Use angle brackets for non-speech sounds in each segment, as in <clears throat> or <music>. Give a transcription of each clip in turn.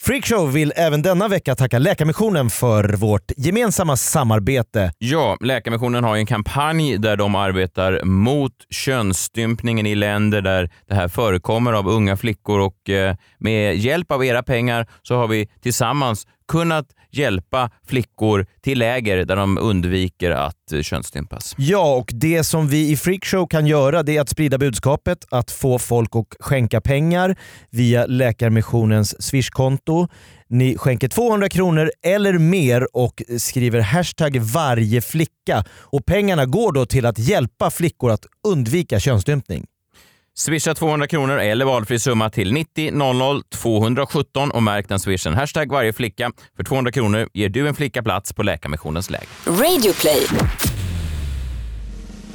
Freakshow vill även denna vecka tacka Läkarmissionen för vårt gemensamma samarbete. Ja, Läkarmissionen har ju en kampanj där de arbetar mot könsstympningen i länder där det här förekommer av unga flickor och eh, med hjälp av era pengar så har vi tillsammans kunnat hjälpa flickor till läger där de undviker att eh, könsstympas. Ja, och det som vi i Freakshow kan göra det är att sprida budskapet, att få folk att skänka pengar via Läkarmissionens swishkonto. Ni skänker 200 kronor eller mer och skriver hashtag varje flicka och pengarna går då till att hjälpa flickor att undvika könsstympning. Swisha 200 kronor eller valfri summa till 90 00 217 och märk den swishen. Hashtag varje flicka. För 200 kronor ger du en flicka plats på Läkarmissionens läger. Radioplay.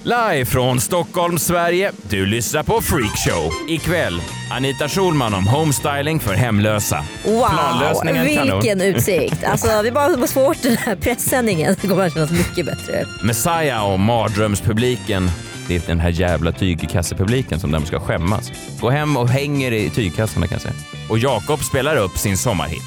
Live från Stockholm, Sverige. Du lyssnar på Freakshow. Ikväll, Anita Schulman om homestyling för hemlösa. Wow, Planlösningen kanon. vilken utsikt. Alltså, vi bara måste få bort den här pressändningen så kommer det kännas mycket bättre. Messiah om mardrömspubliken. Det är den här jävla tygkassepubliken som de ska skämmas. Gå hem och hänger i tygkassarna kan jag säga. Och Jakob spelar upp sin sommarhit.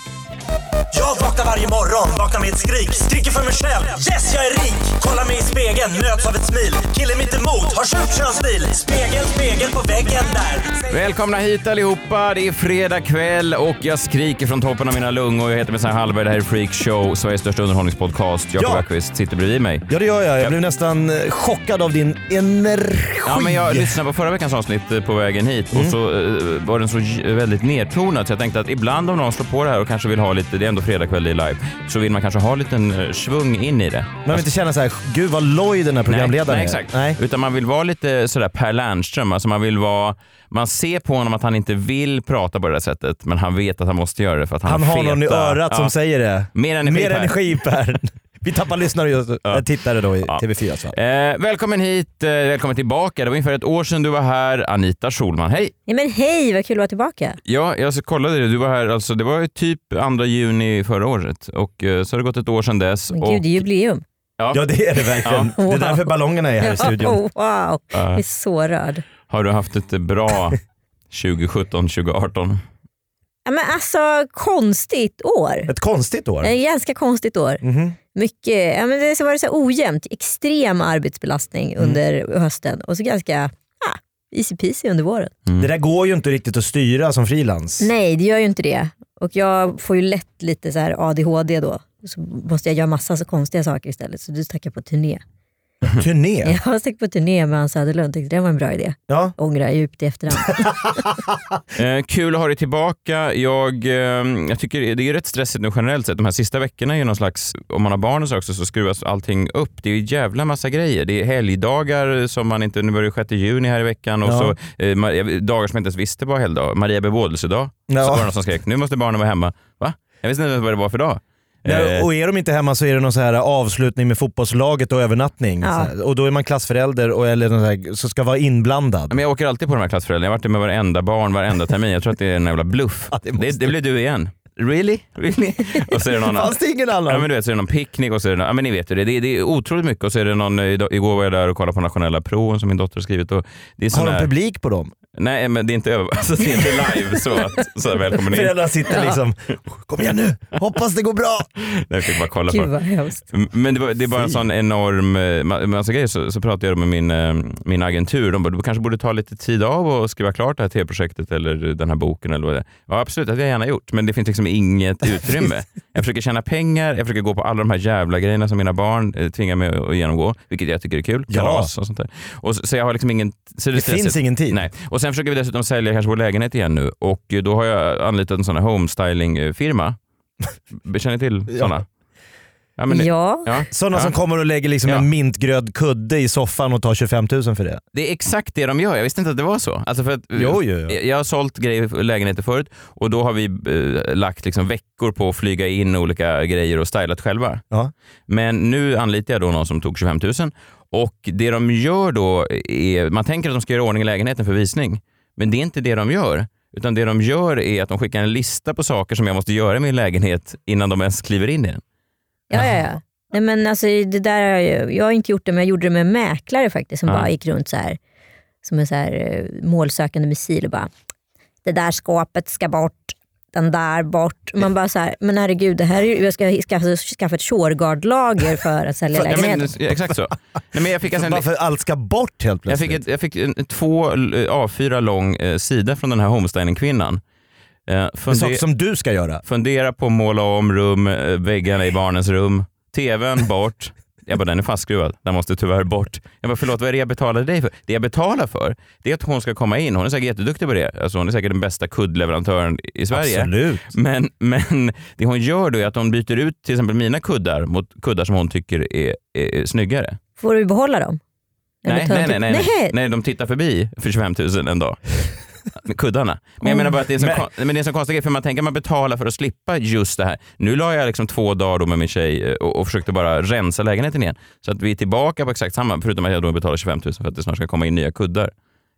Jag vaknar varje morgon, vaknar med ett skrik Skriker för mig själv, yes jag är rik Kollar mig i spegeln, möts av ett smil Killen mitt emot har sjuk könsdil Spegel, spegel på väggen där Välkomna hit allihopa. Det är fredag kväll och jag skriker från toppen av mina lungor. Jag heter Messiah Hallberg. Det här är Freakshow, Sveriges största underhållningspodcast. Jakob Ja. Öqvist sitter bredvid mig. Ja det gör jag. Jag blev nästan eh, chockad av din energi. Ja, men jag lyssnade på förra veckans avsnitt eh, på vägen hit Mm. och så eh, var den så j- väldigt nedtonad så jag tänkte att ibland om någon slår på det här och kanske vill ha lite, det är ändå fredagkväll det är live, så vill man kanske ha en liten eh, svung in i det. Man vill inte känna så här, gud vad loj den här programledaren är. nej, exakt. Nej. Utan man vill vara lite sådär Per Lernström, alltså man vill vara, man ser på honom att han inte vill prata på det där sättet men han vet att han måste göra det för att han, Han har någon i feta- örat ja. som säger det. Mer energi, Mer Per. energi per. <laughs> Vi tappar lyssnare just ja. tittare då i Ja. TV4. Så. Eh, välkommen hit, eh, välkommen tillbaka. Det var ungefär ett år sedan du var här, Anita Schulman. Hej! Ja, men hej, vad kul att vara tillbaka. Ja, jag alltså, kollade det. Du var här, alltså, det var ju typ 2 juni förra året och eh, så har det gått ett år sedan dess. Men och, gud, det är jubileum. Ja det är det verkligen. Ja. Det är därför ballongerna är här i studion. Oh, <laughs> wow, jag eh, är så rörd. har du haft ett <laughs> bra 2017, 2018? Ja, men alltså, konstigt år. Ett konstigt år. Ett ganska konstigt år. Mhm. Mycket, ja, men det så var det så här ojämnt, extrem arbetsbelastning Mm. under hösten och så ganska ah, easy peasy under våren. Det där går ju inte riktigt att styra som frilans. Nej, det gör ju inte det. Och jag får ju lätt lite så här ADHD då. Så måste jag göra massa så konstiga saker istället. Så du stack jag på turné. Turné. Jag stack på turné med Ann Söderlund. Tänkte det var en bra idé. Ja. Ångrar jag djupt i efterhand. Eh, kul att ha dig tillbaka. Jag, eh, jag tycker det är rätt stressigt nu generellt sett. De här sista veckorna är ju någon slags, om man har barn och så också, så skruvas allting upp. Det är ju jävla massa grejer. Det är helgdagar som man inte, nu börjar det 6 juni här i veckan och Ja. så eh, ma- jag- dagar som jag inte ens visste var helgdag. Maria bebådelsedag. Ja. Så var det någon som skrek, nu måste barnen vara hemma. Va? Jag visste inte ens vad det var för dag. Nej, Eh, och är de inte hemma så är det någon så här avslutning med fotbollslaget och övernattning. Ja. Så här. Och då är man klassförälder och, eller någon så här, så ska vara inblandad. men jag åker alltid på de här klassföräldrarna. Jag har varit med varenda barn varenda termin. Jag tror att det är en jävla bluff. det det, måste- det, blir du igen. Really? <laughs> really? Och så är det någon annan. Fanns det ingen annan? Ja, men du vet, så är det någon picknick och så är det, någon, ja, men ni vet ju det, det, det är otroligt mycket och så är det någon, eh, idag- igår var jag där och kollade på nationella proven som min dotter har skrivit och det är sån Har de här, publik på dem? Nej men det är inte över, <laughs> alltså, det är inte live så att, så här, välkommen in. Föräldrar sitter liksom, kom igen nu, hoppas det går bra. Nej, Jag fick bara kolla på <laughs> Gud det. vad hemskt. Men det, var, det är bara en sån enorm eh, ma- massa grejer. Så, så pratade jag med min, eh, min agentur. De bara, du kanske borde ta lite tid av och skriva klart det här tv-projektet eller den här boken. Eller vad det är. Ja absolut, det hade jag gärna gjort. Men det finns <laughs> liksom inget utrymme. jag försöker tjäna pengar, jag försöker gå på alla de här jävla grejerna som mina barn eh, tvingar mig att genomgå. Vilket jag tycker är kul. Ja. Kalas och sånt där. Och, så, så jag har liksom ingen... Så Det stressigt. finns ingen tid. Nej. Och sen försöker vi dessutom sälja kanske vår lägenhet igen nu och eh, då har jag anlitat en sån <laughs> här homestyling-firma. Känner ni till såna? Ja. men, Ja, Ja. Sådana Ja. som kommer och lägger liksom Ja. en mintgröd kudde i soffan och tar 25 000 för det. Det är exakt det de gör. Jag visste inte att det var så. Alltså för att, Jo, jo, jo. Jag har sålt grejer, lägenheter förut och då har vi eh, lagt liksom veckor på att flyga in olika grejer och stylat själva. Ja. Men nu anlitar jag då någon som tog 25 000 Och det de gör då är, man tänker att de ska göra i ordning i lägenheten för visning, men det är inte det de gör. Utan det de gör är att de skickar en lista på saker som jag måste göra i min lägenhet innan de ens kliver in i den. Ja, ja, ja. Nej, men alltså, det där har jag, ju- jag har inte gjort det, men jag gjorde det med en mäklare faktiskt som Ja. bara gick runt så här, som en så här, eh, målsökande missil och bara, det där skåpet ska bort, den där bort. Man bara så här, men herregud, det här är, ju- jag ska skaffa, skaffa ett Shurgard-lager för <laughs> att sälja Ja, men, lägenheten. exakt så. Nej, men jag fick alltså en, Bara för att allt ska bort helt Jag plötsligt. fick, ett, jag fick en, en två eh, A4 lång eh, sida från den här homesteading-kvinnan. Eh, Med saker funde, som du ska göra. fundera på att måla om rum, eh, väggarna i barnens rum, tvn bort. Jag bara, den är fastskruvad. Den måste tyvärr bort. Jag bara, förlåt, vad är det jag betalade dig för? Det jag betalar för, det är att hon ska komma in. Hon är säkert jätteduktig på det. Alltså, hon är säkert den bästa kuddleverantören i Sverige. Mm. Absolut. Men, men det hon gör då är att hon byter ut till exempel mina kuddar mot kuddar som hon tycker är, är snyggare. Får vi behålla dem? Eller Nej, tar de nej, nej, till- nej, nej. nej, de tittar förbi för 25 000 en dag. Med Kuddarna. Men jag menar bara att det är, en sån kon- Mm. men det är en sån konstig grej, för man tänker att man betalar för att slippa just det här. Nu la jag liksom två dagar då med min tjej eh, och, och försökte bara rensa lägenheten igen. Så att vi är tillbaka på exakt samma, förutom att jag då betalar 25 000 för att det snart ska komma in nya kuddar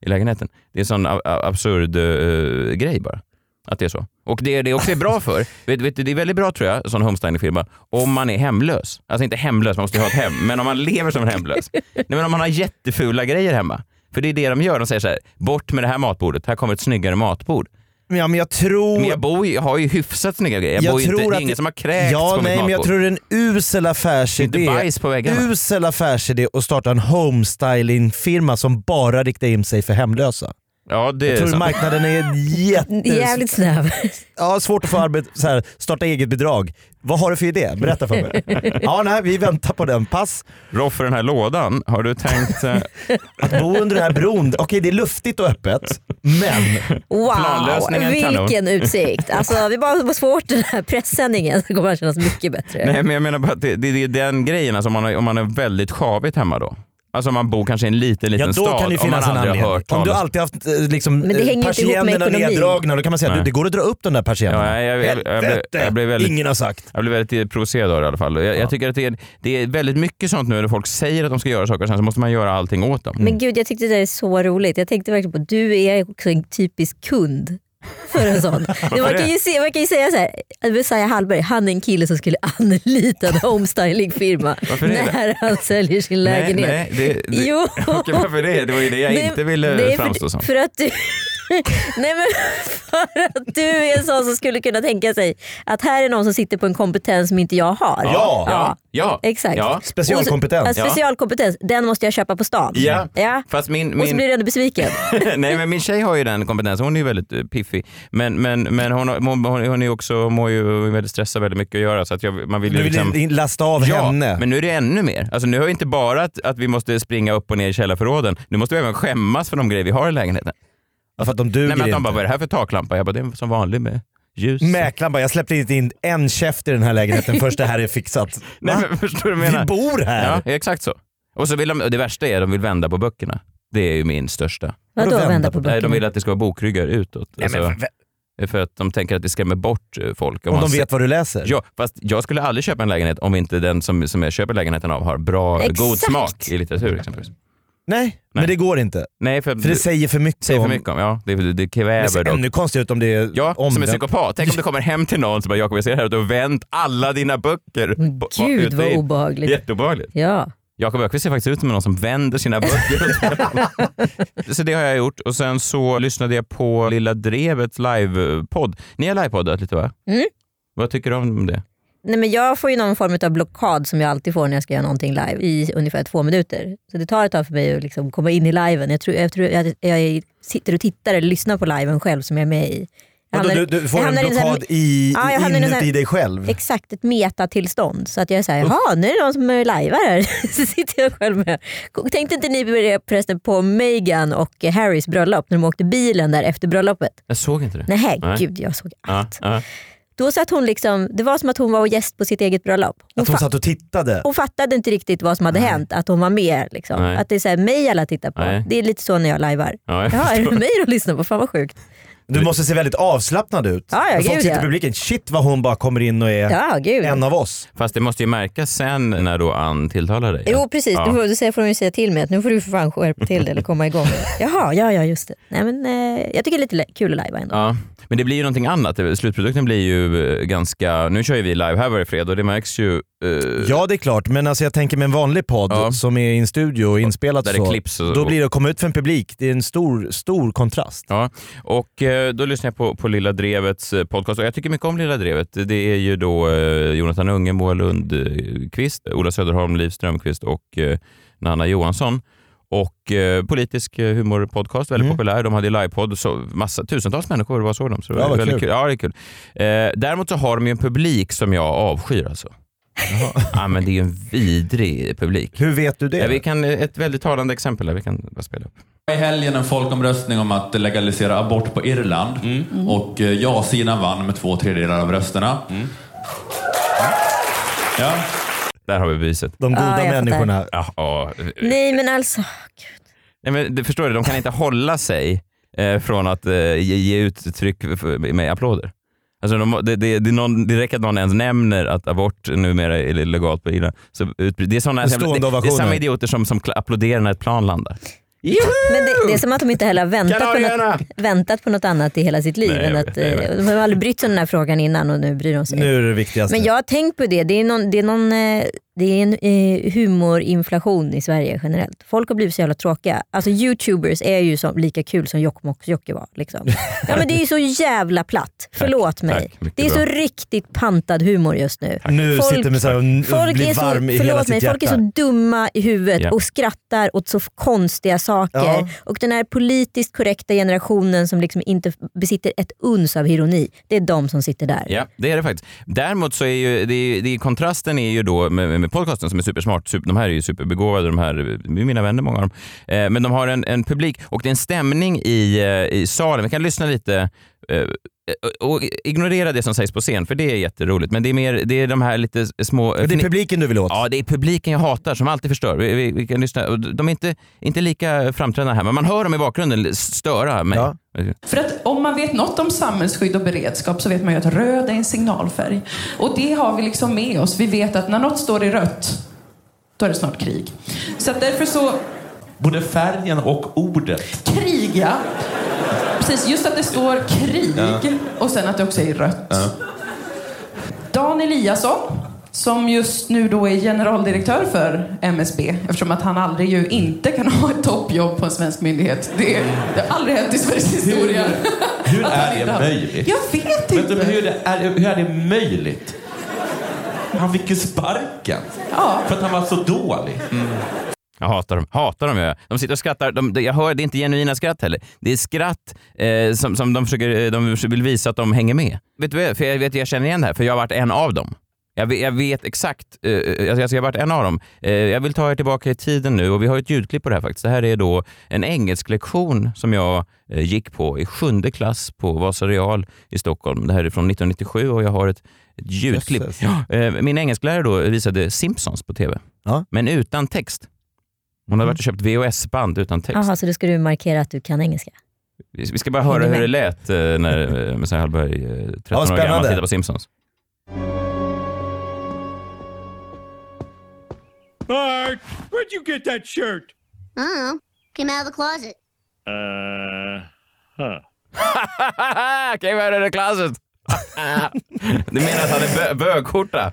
i lägenheten. Det är en sån a- a- absurd eh, grej bara. Att det är så. Och det det också är bra för, <laughs> vet, vet, du, det är väldigt bra tror jag, sån homestylingfirma, om man är hemlös. Alltså inte hemlös, man måste ju ha ett hem, men om man lever som <laughs> en hemlös. Nej, men om man har jättefula grejer hemma. För det är det de gör, de säger så här, bort med det här matbordet, här kommer ett snyggare matbord. Ja, men jag tror... Men jag bor ju, har ju hyfsat snygga grejer, jag, bor ju inte, det är ingen det- som har kräkts ja, på nej, mitt men jag matbord. tror det är en usel affärsidé. Det är inte bajs på väggarna. Usel affärsidé att starta en homestyling-firma som bara riktar in sig för hemlösa. Ja, det Jag är tror sant. marknaden är jätte... Jävligt snäv. Ja, svårt att få arbete, så här, starta eget bidrag. Vad har du för idé? Berätta för mig. <laughs> Ja, nej, vi väntar på den. Pass. <laughs> Roffe, den här lådan, har du <laughs> tänkt eh, Att bo under den här bron, okej det är luftigt och öppet, men <laughs> Wow, Planlösningen, kanon. vilken utsikt. Alltså, vi bara måste få bort den här pressändningen så kommer det kännas mycket bättre. Nej, men jag menar bara att det, det, det är den grejen, alltså, om, man har, om man är väldigt sjavigt hemma då. Alltså om man bor kanske i en liten, ja, liten då stad. kan det ju om man finnas en aldrig har anledning. hört Om du talas- alltid haft eh, liksom, Men det hänger ju inte ihop med persiennerna ekonomin. neddragna, då kan man säga att Nej. du, det går att dra upp de där persiennerna. Ja, jag, jag, jag, jag, blev- jag, blev väldigt, Ingen har sagt. jag blev väldigt provocerad av det i alla fall. Jag, jag tycker att det är, det är väldigt mycket sånt nu när folk säger att de ska göra saker och sen så måste man göra allting åt dem. Mm. Men gud, jag tyckte det där är så roligt. Jag tänkte verkligen på att du är också en typisk kund för <laughs> en sån. Men Man kan ju, se, man kan ju säga så här, att Messiah Hallberg, han är en kille som skulle anlita en homestylingfirma Varför är det? när han säljer sin nej, lägenhet. nej, det, det, Jo. <laughs> Okej, varför det? Det var ju det jag Nej, inte ville det är för- framstå som. För att du... <laughs> Nej men för att du är en sån som skulle kunna tänka sig att här är någon som sitter på en kompetens som inte jag har. Ja, ja, ja. Exakt. Ja. Specialkompetens. Och så- ja, Ja. specialkompetens, den måste jag köpa på stan. Ja. ja. Fast min, Och så min, <laughs> blir du ändå besviken. Nej, men min tjej har ju den kompetensen. Hon är ju väldigt eh, piffig. Men, men, men hon, har- hon, hon, hon är ju också, mår ju väldigt stressad, väldigt mycket att göra. Så att jag, man vill ju Du vill liksom... in- lasta av Ja, henne. men nu är det ännu mer. Alltså, nu har vi inte bara att, att vi måste springa upp och ner i källarförråden. Nu måste vi även skämmas för de grejer vi har i lägenheten. för att de duger Nej, men att de inte. bara, vad är det här för taklampa? Jag bara, det är som vanligt med ljus. Mäklaren bara, jag släppte inte in en käft i den här lägenheten först det här är fixat. <laughs> Nej, Va? men, förstår du vad jag Vi menar? bor här! Ja, exakt så. Och så vill de, och det värsta är att de vill vända på böckerna. Det är ju min största. Vadå Vadå vända, vända på Nej, böckerna? de vill att det ska vara bokryggar utåt. Nej, men, Alltså, v- för att de tänker att det skrämmer bort eh, folk. om man de ser- vet vad du läser. Ja, fast jag skulle aldrig köpa en lägenhet om inte den som, som jag köper lägenheten av har bra, Exakt. god smak i litteratur exempelvis. Nej, men det går inte. Nej, för, För det säger för mycket säger om... för mycket om, ja, det, det, det Det kväver ser då. ännu konstigare ut om det är Ja, som en omvänt. psykopat. Tänk om du kommer hem till någon som bara “Jakob, jag ser här att du har vänt alla dina böcker”. på- på- Gud ute vad i- obehagligt. Jätteobehagligt. Ja. Jakob Öqvist ser faktiskt ut som någon som vänder sina böcker. <laughs> så det har jag gjort och sen så lyssnade jag på Lilla Drevets livepodd. Ni har livepoddat lite va? Mm. Vad tycker du om det? Nej, men jag får ju någon form av blockad som jag alltid får när jag ska göra någonting live i ungefär två minuter. Så det tar ett tag för mig att liksom komma in i liven. Jag, tror, jag, tror, jag, jag sitter och tittar eller lyssnar på liven själv som jag är med i. Jag Vadå, hamnar- du, du får jag en hamnar i en sån här- blockad i, Ja, jag hamnar i en sån inuti här- dig själv. Exakt, ett metatillstånd. Så att jag är såhär, jaha nu är det någon som är lajvar här. <laughs> så sitter jag själv med. Tänkte inte ni på det förresten på Meghan och Harrys bröllop när de åkte bilen där efter bröllopet? Jag såg inte det. Nej, Nej. gud jag såg Ja, allt. ja. Då satt hon liksom, det var som att hon var gäst på sitt eget bröllop. Hon Att hon fa- satt och tittade. hon fattade inte riktigt vad som hade hänt, att hon var med. Liksom. Nej. Att det är så här, mig alla tittar på. Nej. Det är lite så när jag lajvar. Ja, jag Jaha, är förstår. det mig de lyssnar på? Fan vad sjukt. Du måste se väldigt avslappnad ut. Ja, ja, Men folk gud, sitter i ja. publiken, shit vad hon bara kommer in och är Ja, gud. en av oss. Fast det måste ju märkas sen när då Ann tilltalar dig. Jo precis, Ja. du får, du säger- får de ju säga till mig att nu får du för fan skärpa till dig eller <laughs> komma igång. Jaha, ja ja just det. Nej, men, eh, jag tycker det är lite le- kul att lajva ändå. Ja, men det blir ju någonting annat. Slutprodukten blir ju eh, ganska... Nu kör ju vi live här varje fredag och det märks ju eh, Ja det är klart, men alltså jag tänker med en vanlig podd Ja. som är i en studio och inspelat där det så. klipps. Och, Då blir det att komma ut för en publik, det är en stor, stor kontrast. Ja, och eh, då lyssnar jag på, på Lilla Drevets eh, podcast och jag tycker mycket om Lilla Drevet. Det är ju då eh, Jonathan Unge, Moa Lundqvist, Ola Söderholm, Liv Strömqvist och eh, Nanna Johansson. Och eh, politisk eh, humorpodcast, väldigt Mm. populär. De hade ju livepodd, så massa, tusentals människor var såg dem. Så det Ja, var vad väldigt kul. kul. Ja, det är kul. Eh, däremot så har de ju en publik som jag avskyr alltså. <laughs> ja, men det är ju en vidrig publik. Hur vet du det? Ja, vi kan, eh, ett väldigt talande exempel där vi kan bara spela upp. I helgen en folkomröstning om att legalisera abort på Irland och eh, ja-sidan vann med två tredjedelar av rösterna. Ja. Där har vi beviset. De goda Ja, jag fattar. människorna. Ja, ja. Nej men alltså, gud. Nej, men, du förstår du, de kan inte hålla sig eh, från att eh, ge, ge uttryck för, med applåder. Alltså de, det, det, det, är någon, det räcker att någon ens nämner att abort numera är legalt på Irland. Så, ut- det, är såna, En stående det, det är ovationer. samma idioter som, som kla- applåderar när ett plan landar. Men det, det är som att de inte heller har väntat på, Kanarierna! något, väntat på något annat i hela sitt liv. Nej, jag än vet, att, jag vet. eh, de har aldrig brytt sig om den här frågan innan och nu bryr de sig. Nu är det viktigaste. Men jag har tänkt på det, det är, någon, det är, någon, eh, det är en eh, humorinflation i Sverige generellt. Folk har blivit så jävla tråkiga. Alltså youtubers är ju som, lika kul som Jokkmokks-Jokke var. <laughs> Liksom. Ja, men det är ju så jävla platt, förlåt mig. tack, mycket det är så bra. riktigt pantad humor just nu. nu Folk- sitter med så här och, och Folk blir är, så, varm i hela förlåt mig, sitt hjärta. folk är så dumma i huvudet Ja. och skrattar åt så konstiga saker. Ja. Och den här politiskt korrekta generationen som liksom inte besitter ett uns av ironi, det är de som sitter där. Ja, det är det faktiskt. Däremot så är ju det, är, det är, kontrasten är ju då med, med- med podcasten som är supersmart. Super, de här är ju superbegåvade, de här det är mina vänner många av dem. Eh, men de har en, en publik och det är en stämning i, eh, i salen. Vi kan lyssna lite eh, och och ignorera det som sägs på scen, för det är jätteroligt. Men det är, mer, det är de här lite små... det är publiken du vill åt. Ja, det är publiken jag hatar som alltid förstör. Vi, vi, vi kan lyssna. Och De är inte, inte lika framträdande här, men man hör dem i bakgrunden störa mig. Ja. För att om man vet något om samhällsskydd och beredskap så vet man ju att röd är en signalfärg. Och det har vi liksom med oss. Vi vet att när något står i rött, då är det snart krig. Så att därför så, Både färgen och ordet. krig ja. Precis, just att det står krig och sen att det också är i rött. Dan Eliasson, som just nu då är generaldirektör för MSB eftersom att han aldrig ju inte kan <laughs> ha ett toppjobb på en svensk myndighet. Det, det har aldrig hänt i Sveriges historia. Hur <laughs> Att han är inte det har- möjligt? Jag vet inte. Vänta, men hur, är det, är, hur är det möjligt? Han fick ju sparken. Ja. För att han var så dålig. Jag hatar dem. Hatar dem gör jag. De sitter och skrattar. De, de, jag hör, det är inte genuina skratt heller. Det är skratt eh, som, som de, försöker, eh, de vill visa att de hänger med. Vet du vad? För jag, vet, jag känner igen det här, för jag har varit en av dem. Jag vet, jag vet exakt. Eh, eh, alltså jag har varit en av dem. Eh, jag vill ta er tillbaka i tiden nu och vi har ett ljudklipp på det här faktiskt. Det här är då en engelsklektion som jag eh, gick på i sjunde klass på Vasa Real i Stockholm. Det här är från 1997 och jag har ett, ett ljudklipp. Jösses. Ja, eh, min engelsklärare då visade Simpsons på tv, Ja. Mm. men utan text. Hon hade varit och köpt VHS-band utan text. Jaha, så då ska du markera att du kan engelska? Vi vi ska bara höra Hänger hur det med. lät eh, när eh, Messiah Hallberg, eh, 13 år gammal, spännande. tittade på Simpsons. Bart, where'd you get that shirt? Oh, came out of the closet. Uh, huh. Came out of <laughs> the closet! du menar att han är bö- bögskjorta?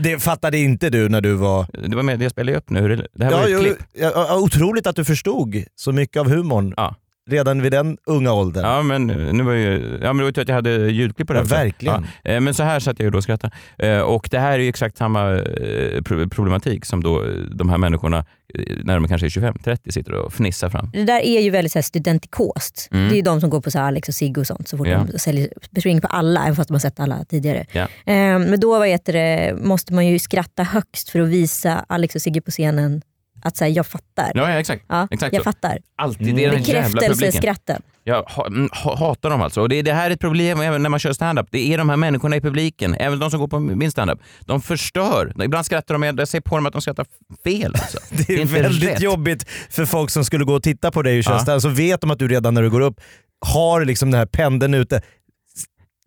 Det fattade inte du när du var... det var med, jag spelade ju upp nu. hur Det, det här var Ja, ju ett jag, klipp. ja, otroligt att du förstod så mycket av humorn Ja. redan vid den unga åldern. Ja, men nu var ju, ja, men det var ju tur att jag hade ljudklipp på det. Ja, också. verkligen. Ja, eh, men så här satt jag ju då och skrattade. Eh, Och det här är ju exakt samma eh, pro- problematik som då eh, de här människorna, eh, när de kanske är 25-30, sitter och fnissar fram. Det där är ju väldigt så här studentikost. Det är ju de som går på så här Alex och Sigge och sånt så fort Mm. Ja. de säljer, springer på alla, även fast de har sett alla tidigare. Ja. Ehm, men då vad heter det, måste man ju skratta högst för att visa Alex och Sigge på scenen att så här, jag fattar. Ja, ja exakt. Ja, exakt jag så. fattar. Alltid det är den jävla publiken. Bekräftelseskratten. Jag ha, mm, ha- hatar dem alltså. Och det, det här är ett problem även när man kör stand-up. Det är de här människorna i publiken, även de som går på min stand-up. De förstör. Ibland skrattar de, jag ser på dem att de skrattar fel. Alltså. <laughs> Det är inte väldigt rätt. jobbigt för folk som skulle gå och titta på dig Alltså, och köra Ja. stand, så vet de att du redan när du går upp har liksom den här pendeln ute.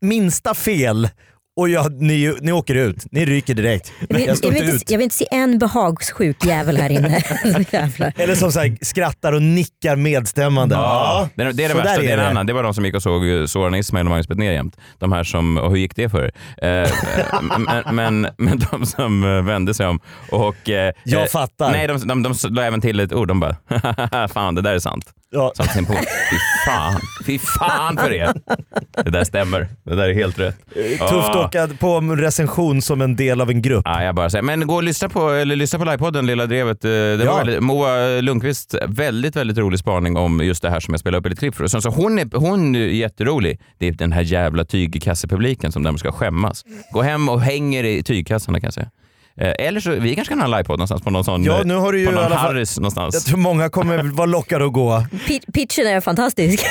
Minsta fel och jag, ni, ni åker ut. Ni ryker direkt. Jag vill, Jag jag, står vill inte inte, ut. jag vill inte se en behagssjuk jävel <laughs> här inne. <laughs> Så jävlar. Eller som så här, skrattar och nickar medstämmande. Ja, Det, är- det är det så värsta. där Det är en annan. Det var de som gick och såg eh, Soran Ismail och Magnus Betnér jämt. De här som, och hur gick det för er? Eh, <laughs> men, men, men de som eh, vände sig om och... eh, Jag eh, fattar. Nej, de, de, de la även till ett ord. De bara, <laughs> fan det där är sant. Ja. Satt sin på. Fy fan. Fy fan <laughs> för er. Det där stämmer. Det där är helt rätt. Tufft att åka på en recension som en del av en grupp. Ja, jag bara säger. Men gå och lyssna på, eller lyssna på livepodden Lilla Drevet. Eh, Det Ja. var väldigt- Moa Lundqvist, väldigt, väldigt rolig spaning om just det här som jag spelade upp ett klipp för. Sen Så hon, är, hon är jätterolig. Det är den här jävla tygkassepubliken som därmed ska skämmas. Gå hem och hänger i tygkassarna kan jag säga. Eh, Eller så, vi kanske kan ha en livepodd någonstans på någon sån, Ja, eh, nu har du ju på i någon alla fall- Harris någonstans. Jag tror många kommer vara lockade att gå. Pi- Pitchen är fantastisk.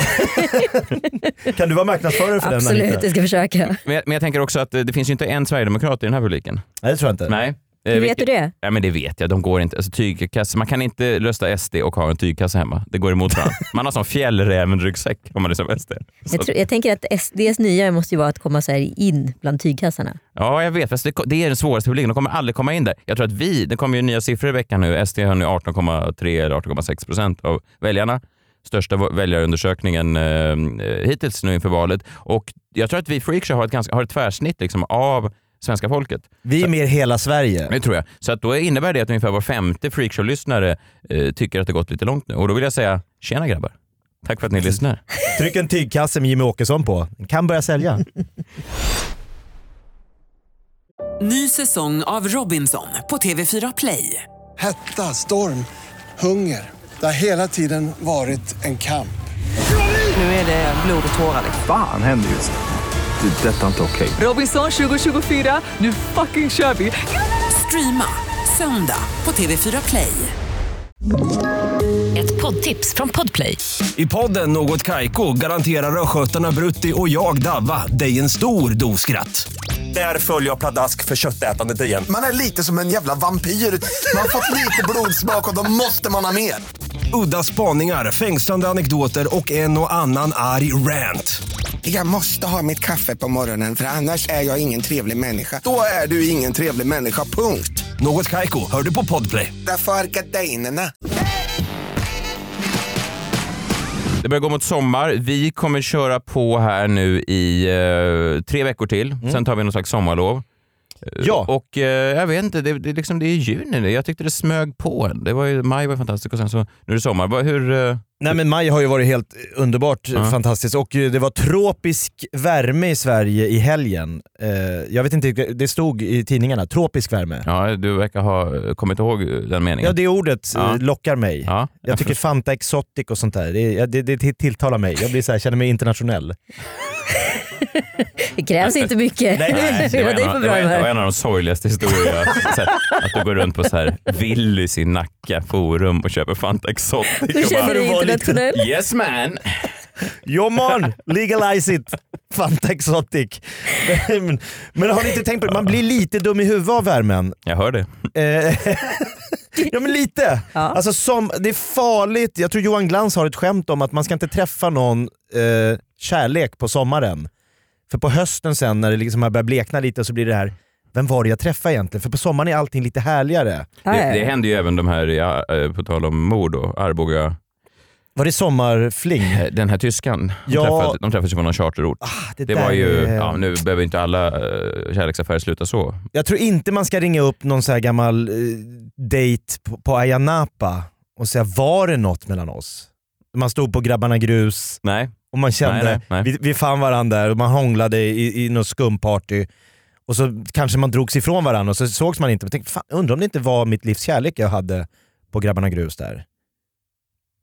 Kan du vara marknadsförare för den? Absolut, Anita? jag ska försöka. Men jag, men jag tänker också att eh, det finns ju inte en sverigedemokrat i den här publiken. Nej, det tror jag inte. Nej. Eh, Hur vet vilket- du det? Ja, men det vet jag. De går inte. Alltså, tygkasse. Man kan inte rösta SD och ha en tygkasse hemma. Det går emot varandra. Man har sån fjällräven-ryggsäck om man är som SD. Så, Jag, tror, jag tänker att SDs nya måste ju vara att komma så här in bland tygkassarna. Ja, jag vet. Fast det, det är den svåraste publiken. De kommer aldrig komma in där. Jag tror att vi, det kommer ju nya siffror i veckan nu. SD har nu 18,3 eller 18,6 procent av väljarna. Största va- väljarundersökningen eh, eh, hittills nu inför valet. Och jag tror att vi freakshow har ett, ganska, har ett tvärsnitt liksom, av svenska folket. Vi är mer hela Sverige. Det tror jag. Så att då innebär det att ungefär var femte freakshow-lyssnare eh, tycker att det gått lite långt nu. Och då vill jag säga, tjena grabbar. Tack för att ni lyssnar. Tryck en tygkasse med Jimmy Åkesson på. Den Kan börja sälja. Ny säsong av Robinson på TV4 Play. Hetta, storm, hunger. Det har hela tiden varit en kamp. Nu är det blod och tårar. liksom. Fan händer just det. Det är detta inte okej. Robinson 2024, nu fucking kör vi! Streama söndag på TV4 Play. Ett poddtips från Podplay. I podden Något Kaiko garanterar östgötarna Brutti och jag, Davva, dig en stor dos skratt. Där följer jag pladask för köttätandet igen. Man är lite som en jävla vampyr. Man har fått lite blodsmak och då måste man ha mer. Udda spaningar, fängslande anekdoter och en och annan arg rant. Jag måste ha mitt kaffe på morgonen för annars är jag ingen trevlig människa. Då är du ingen trevlig människa, punkt. Något Kaiko, hör du på Podplay. Därför är gardinerna. Det börjar gå mot sommar. Vi kommer köra på här nu i eh, tre veckor till. Sen tar vi någon slags sommarlov. Eh, Mm. Ja. Och eh, jag vet inte, det, det, är liksom, det är juni nu. Jag tyckte det smög på en. Det var ju, maj var fantastiskt och sen så, nu är det sommar. Vad- Hur, eh, Nej men maj har ju varit helt underbart eh, fantastiskt och eh, det var tropisk värme i Sverige i helgen. Eh, jag vet inte, riktigt- det stod i tidningarna, tropisk värme. ja, du verkar ha kommit ihåg den meningen. Ja det ordet eh, Ja. lockar mig. Ja, Jag tycker Fanta Exotic och sånt där, det, det, det tilltalar mig. Jag blir så här, känner mig internationell. Det krävs <laughs> inte mycket. det, var <laughs> det är en, för av- det, bra var, en- det var humör. en av de sorgligaste historierna. så här, att du går runt på så här Willys i Nacka forum och köper Fanta Exotic. Du och känner bara- dig internationell. <laughs> Yes man! Jo man, legalize it! Fanta Exotic. Men, men har ni inte tänkt på det? Man blir lite dum i huvudet av värmen. Jag hör det. ja men lite. Alltså, som, det är farligt. Jag tror Johan Glans har ett skämt om att man ska inte träffa någon eh, kärlek på sommaren. För på hösten sen när det liksom här börjar blekna lite så blir det här, vem var det jag träffade egentligen? För på sommaren är allting lite härligare. Det, det hände ju även de här, ja, eh, på tal om mord och Arboga. Eh, Var det sommarfling? Den här tyskan. De, Ja. träffade, de träffades ju på någon charterort. det det där eh, var ju, är- ja, nu behöver inte alla eh, kärleksaffärer sluta så. Jag tror inte man ska ringa upp någon så här gammal eh, dejt på, på Ayia Napa och säga var det något mellan oss? Man stod på Grabbarna Grus Nej. och man kände, Nej, nej, nej. Vi, vi fann varandra där och man hånglade i, i något skumparty och så kanske man drogs ifrån varandra och så sågs man inte. Men tänkte, fan, undrar om det inte var mitt livs kärlek jag hade på Grabbarna Grus där.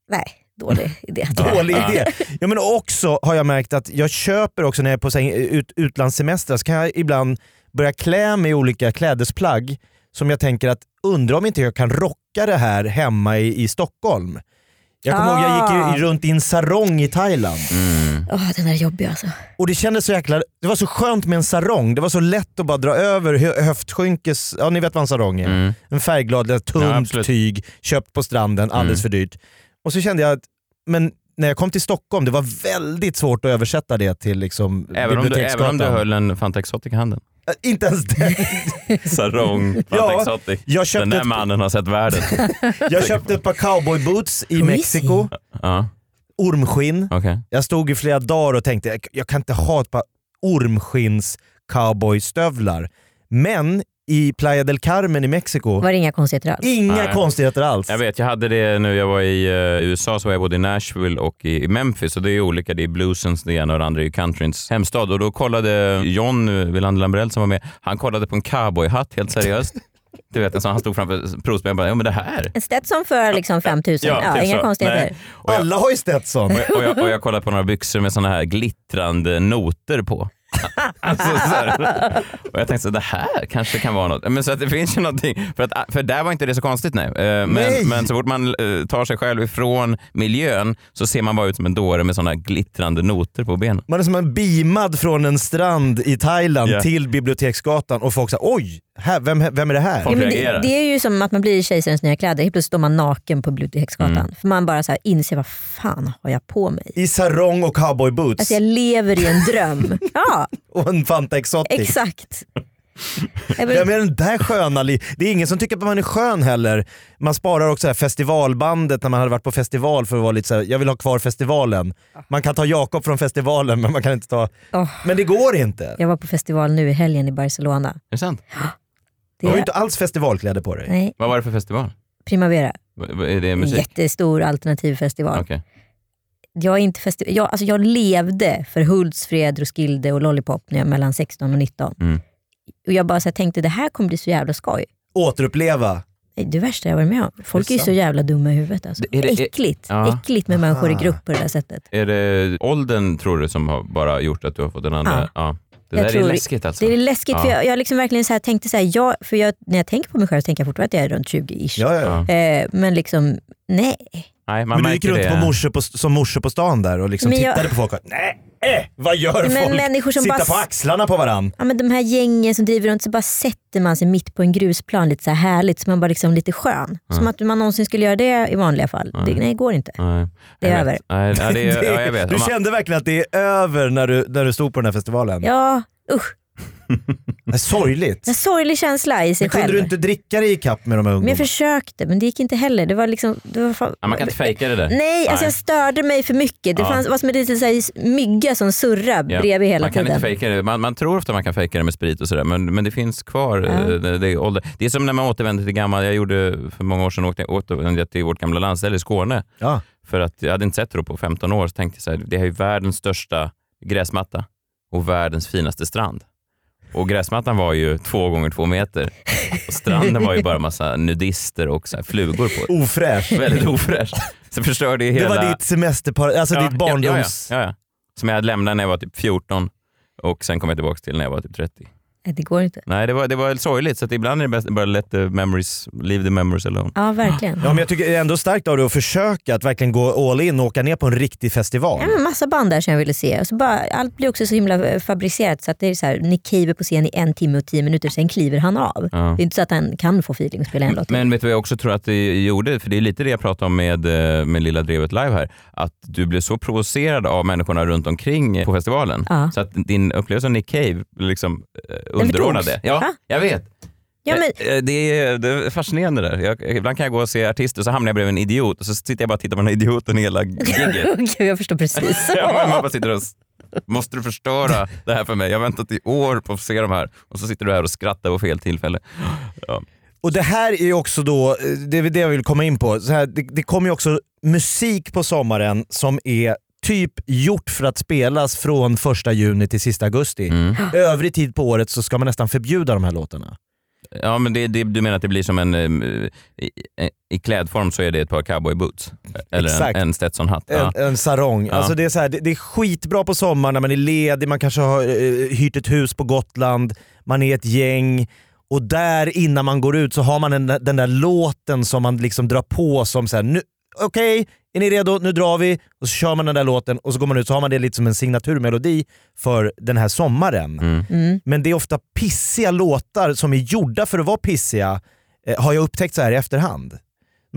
Nej, dålig idé. Dålig idé. Ja, men också har jag märkt att jag köper också när jag är på så här, ut, utlandssemester så kan jag ibland börja klä mig i olika klädesplagg som jag tänker att undrar om inte jag kan rocka det här hemma i, i Stockholm. Jag kommer Ah. ihåg jag gick ju runt i en sarong i Thailand. <laughs> Åh, den där är jobbig alltså. Och det kändes så jäkla... Det var så skönt med en sarong. Det var så lätt att bara dra över hö- höftskynkes... Ja ni vet vad en sarong är. Mm. En färgglad, lite tunt tyg, köpt på stranden, alldeles Mm. för dyrt. Och så kände jag att, men när jag kom till Stockholm, det var väldigt svårt att översätta det till liksom, Även om, du, även om Biblioteksgatan. du höll en Fanta Exotic <laughs> i handen. Äh, Inte ens <laughs> det. Sarong, Fanta Ja, Exotic. jag köpte Den där ett- mannen har sett världen. <laughs> Jag köpte ett par cowboyboots i Mexiko, ja, ormskinn. okej. Jag stod i flera dagar och tänkte, jag, jag kan inte ha ett par ormskins cowboystövlar. Men i Playa del Carmen i Mexiko, Var det inga konstigheter alls? inga Nej. konstigheter alls. Jag vet, jag hade det nu jag var i eh, USA, så var jag både i Nashville och i, i Memphis. Och det är ju olika, det är bluesens det ena och det andra är ju countryns hemstad. Och då kollade John eh, Wilander Lambrell som var med, han kollade på en cowboyhatt helt seriöst. Du vet, en sån han stod framför provspelaren och bara, ja men det här. En Stetson för liksom 5000, ja, typ inga så. konstigheter. Nej. Och jag- Alla har ju Stetson. Och jag, och, jag, och jag kollade på några byxor med såna här glittrande <laughs> noter på. alltså, så här. Och jag tänkte så här, det här kanske kan vara något. Men så att det finns ju någonting. För, att, för där var inte det så konstigt nu. Nej. Eh, Men, men så fort man eh, tar sig själv ifrån miljön så ser man bara ut som en dåre med såna här glittrande noter på benen. Man är som en beamad från en strand i Thailand Ja. till Biblioteksgatan och folk säger oj, här, vem, vem är det här? Ja, men det, det är ju som att man blir i kejsarens nya kläder, helt plötsligt står man naken på Biblioteksgatan. Mm. För man bara så här inser, vad fan har jag på mig? I sarong och cowboyboots Alltså jag lever i en <laughs> dröm. ja, och en Fanta Exotic. exakt. Jag vill- Vem är den där sköna? li- Det är ingen som tycker att man är skön heller. Man sparar också det här festivalbandet när man hade varit på festival för att vara lite såhär, jag vill ha kvar festivalen. Man kan ta Jakob från festivalen men man kan inte ta... Åh. Men det går inte. Jag var på festival nu i helgen i Barcelona. Är det sant? Du har ju inte alls festivalkläder på dig. Nej, Vad var det för festival? Primavera. V- v- Är det En musik? jättestor alternativ festival. Okej. Jag, är inte festi- jag, alltså jag levde för Hultsfred, Roskilde och Lollipop när jag var mellan 16 och 19. Mm. Och jag bara så här tänkte, det här kommer bli så jävla skoj. Återuppleva. Det är det värsta jag varit med om. Folk Det är är ju så sant. jävla dumma i huvudet. Alltså. Det- är det- är- äckligt. Ja. äckligt med människor i Ah. grupp på det där sättet. Är det åldern tror du som har bara gjort att du har fått den andra? Ja. Ja. Det där tror- är läskigt alltså. Det är läskigt, Ja. för jag, jag liksom verkligen så här tänkte så här, jag, för jag, när jag tänker på mig själv så tänker jag fortfarande att jag är runt 20-ish. Ja, ja. Eh, men liksom, nej. Nej, man Men du gick märker runt det. på morse på, som morse på stan där och liksom Men jag- tittade på folk och, nej, eh, vad gör Men folk? människor som Sitta bara- på axlarna på varandra. Ja, men de här gängen som driver runt så bara sätter man sig mitt på en grusplan lite så här härligt, så man bara liksom lite skön. Som att man någonsin skulle göra det i vanliga fall. Det, nej, det går inte. Nej. Det är jag över. Vet. Nej, nej, det är, ja, jag vet. Du Om man- kände verkligen att det är över när du, när du stod på den här festivalen? Ja, usch. Det är Sorgligt. En sorglig känsla i sig Men kunde själv. du inte dricka dig ikapp med de här Men jag ungdomarna? försökte, men det gick inte heller. Det var liksom, det var fan... Ja, man kan inte fejka det där. Nej, alltså jag störde mig för mycket. Det Ja. fanns, var som en liten så här mygga som surrade Ja. bredvid hela man kan tiden. Inte fejka det. Man, man tror ofta man kan fejka det med sprit och sådär, men, men det finns kvar. eh, Det, det, är ålder. det är som när man återvänder till gammal. Jag gjorde för många år sedan åkte, återvände jag till vårt gamla landställe i Skåne. Ja. För att jag hade inte sett det då på 15 år, så tänkte jag så här, det här är ju världens största gräsmatta och världens finaste strand. Och gräsmattan var ju två gånger två meter och stranden var ju bara massa nudister och så här flugor på. <laughs> Ofräsch. Väldigt ofräsch. Så förstörde ju Det hela... var ditt semesterpar, alltså ditt barndoms... Ja, ja, ja, ja. Som jag hade lämnat när jag var typ 14 och sen kom jag tillbaka till när jag var typ 30. Nej, det går inte. Nej, det var, det var sorgligt, så att ibland är det bäst att bara let the memories, leave the memories alone. Ja, verkligen. Ja, men jag tycker det är ändå starkt av dig att försöka att verkligen gå all in och åka ner på en riktig festival. Ja, men massa band där som jag ville se. Och så bara, allt blir också så himla eh, fabricerat så att det är så här, Nick Cave är på scen i en timme och tio minuter, sen kliver han av. Ja. Det är inte så att han kan få feeling och spela en låt. Men vet du vad jag också tror att det gjorde? För det är lite det jag pratade om med, eh, med Lilla Drevet Live här. Att du blev så provocerad av människorna runt omkring på festivalen. Ja. Så att din upplevelse av Nick Cave blev liksom eh, underordnade. förtogs. Ja, Va? jag vet. Ja, men, Eh, eh, Det, är, det är fascinerande det där. Jag, ibland kan jag gå och se artister och så hamnar jag bredvid en idiot och så sitter jag bara och tittar på den här idioten hela gigget. <laughs> Gud, jag förstår precis. <laughs> ja, men man bara sitter och s- Måste du förstöra det här för mig? Jag har väntat i år på att få se de här och så sitter du här och skrattar på fel tillfälle. Ja. Och det här är ju också då, eh, det är väl det jag vill komma in på. Så här, det, det kommer ju också musik på sommaren som är typ gjort för att spelas från första juni till sista augusti. Mm. Övrig tid på året så ska man nästan förbjuda de här låtarna. Ja, men det, det, du menar att det blir som en... em, I, i- I klädform så är det ett par cowboyboots. Eller Exakt. en, en Stetson-hatt. Ja. En, en sarong. Ja. Alltså det, är så här, det, det är skitbra på sommaren när man är ledig, man kanske har eh, hyrt ett hus på Gotland, man är ett gäng och där innan man går ut så har man den, där- den där låten som man liksom drar på som så här, nu okej, är ni redo? Nu drar vi. Och så kör man den där låten och så går man ut så har man det lite som en signaturmelodi för den här sommaren. Mm. Men det är ofta pissiga låtar som är gjorda för att vara pissiga, eh, har jag upptäckt så här i efterhand.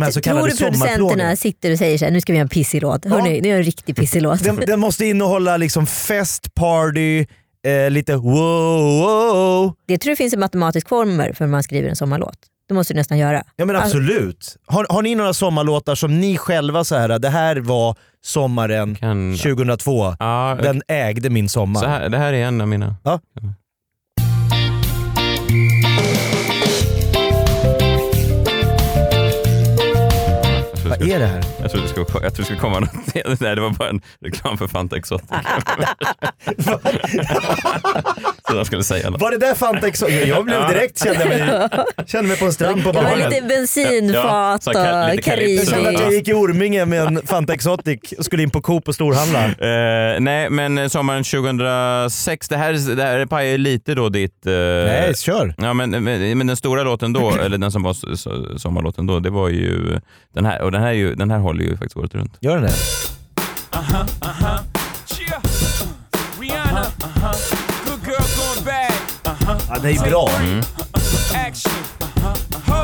här så Tror kallade du sommarplågorna. producenterna sitter och säger så här, nu ska vi ha en pissig låt. Hörni, nu är en riktig pissig låt. Den, den måste innehålla liksom fest, party, eh, lite wow, wow. Det tror jag finns en matematisk formel för hur man skriver en sommarlåt. Det måste du nästan göra. Ja men Alltså- absolut. Har, har ni några sommarlåtar som ni själva så här, "Äh, det här var sommaren 2002. Den ägde min sommar. Så här, det här är en av mina. Ja. Vad är det här? Jag trodde det skulle, jag trodde det skulle komma något. <laughs> Nej, det var bara en reklam för Fanta Exotic. <laughs> Så jag skulle säga något. Var det där Fanta Exo- Jag blev direkt, kände jag mig, kände mig på en strand på Det var morgonen. lite bensinfat Ja, så här, och lite Caribe. Jag kände att jag Karibien. gick i Orminge med en Fanta Exotic och skulle in på Coop och storhandla. Eh, nej, men sommaren 2006, det här, det här pajar lite då ditt... eh, Nej, kör. Ja, men, men, men den stora <clears throat> låten då, eller den som var s- s- sommarlåten då, det var ju den här. Och den här, är ju, den här håller ju faktiskt året runt. Gör den det? Uh-huh, uh-huh. Cheer. Rihanna. Uh-huh. Good girl going bad. Uh-huh. Ja, det är bra. Action. Ho.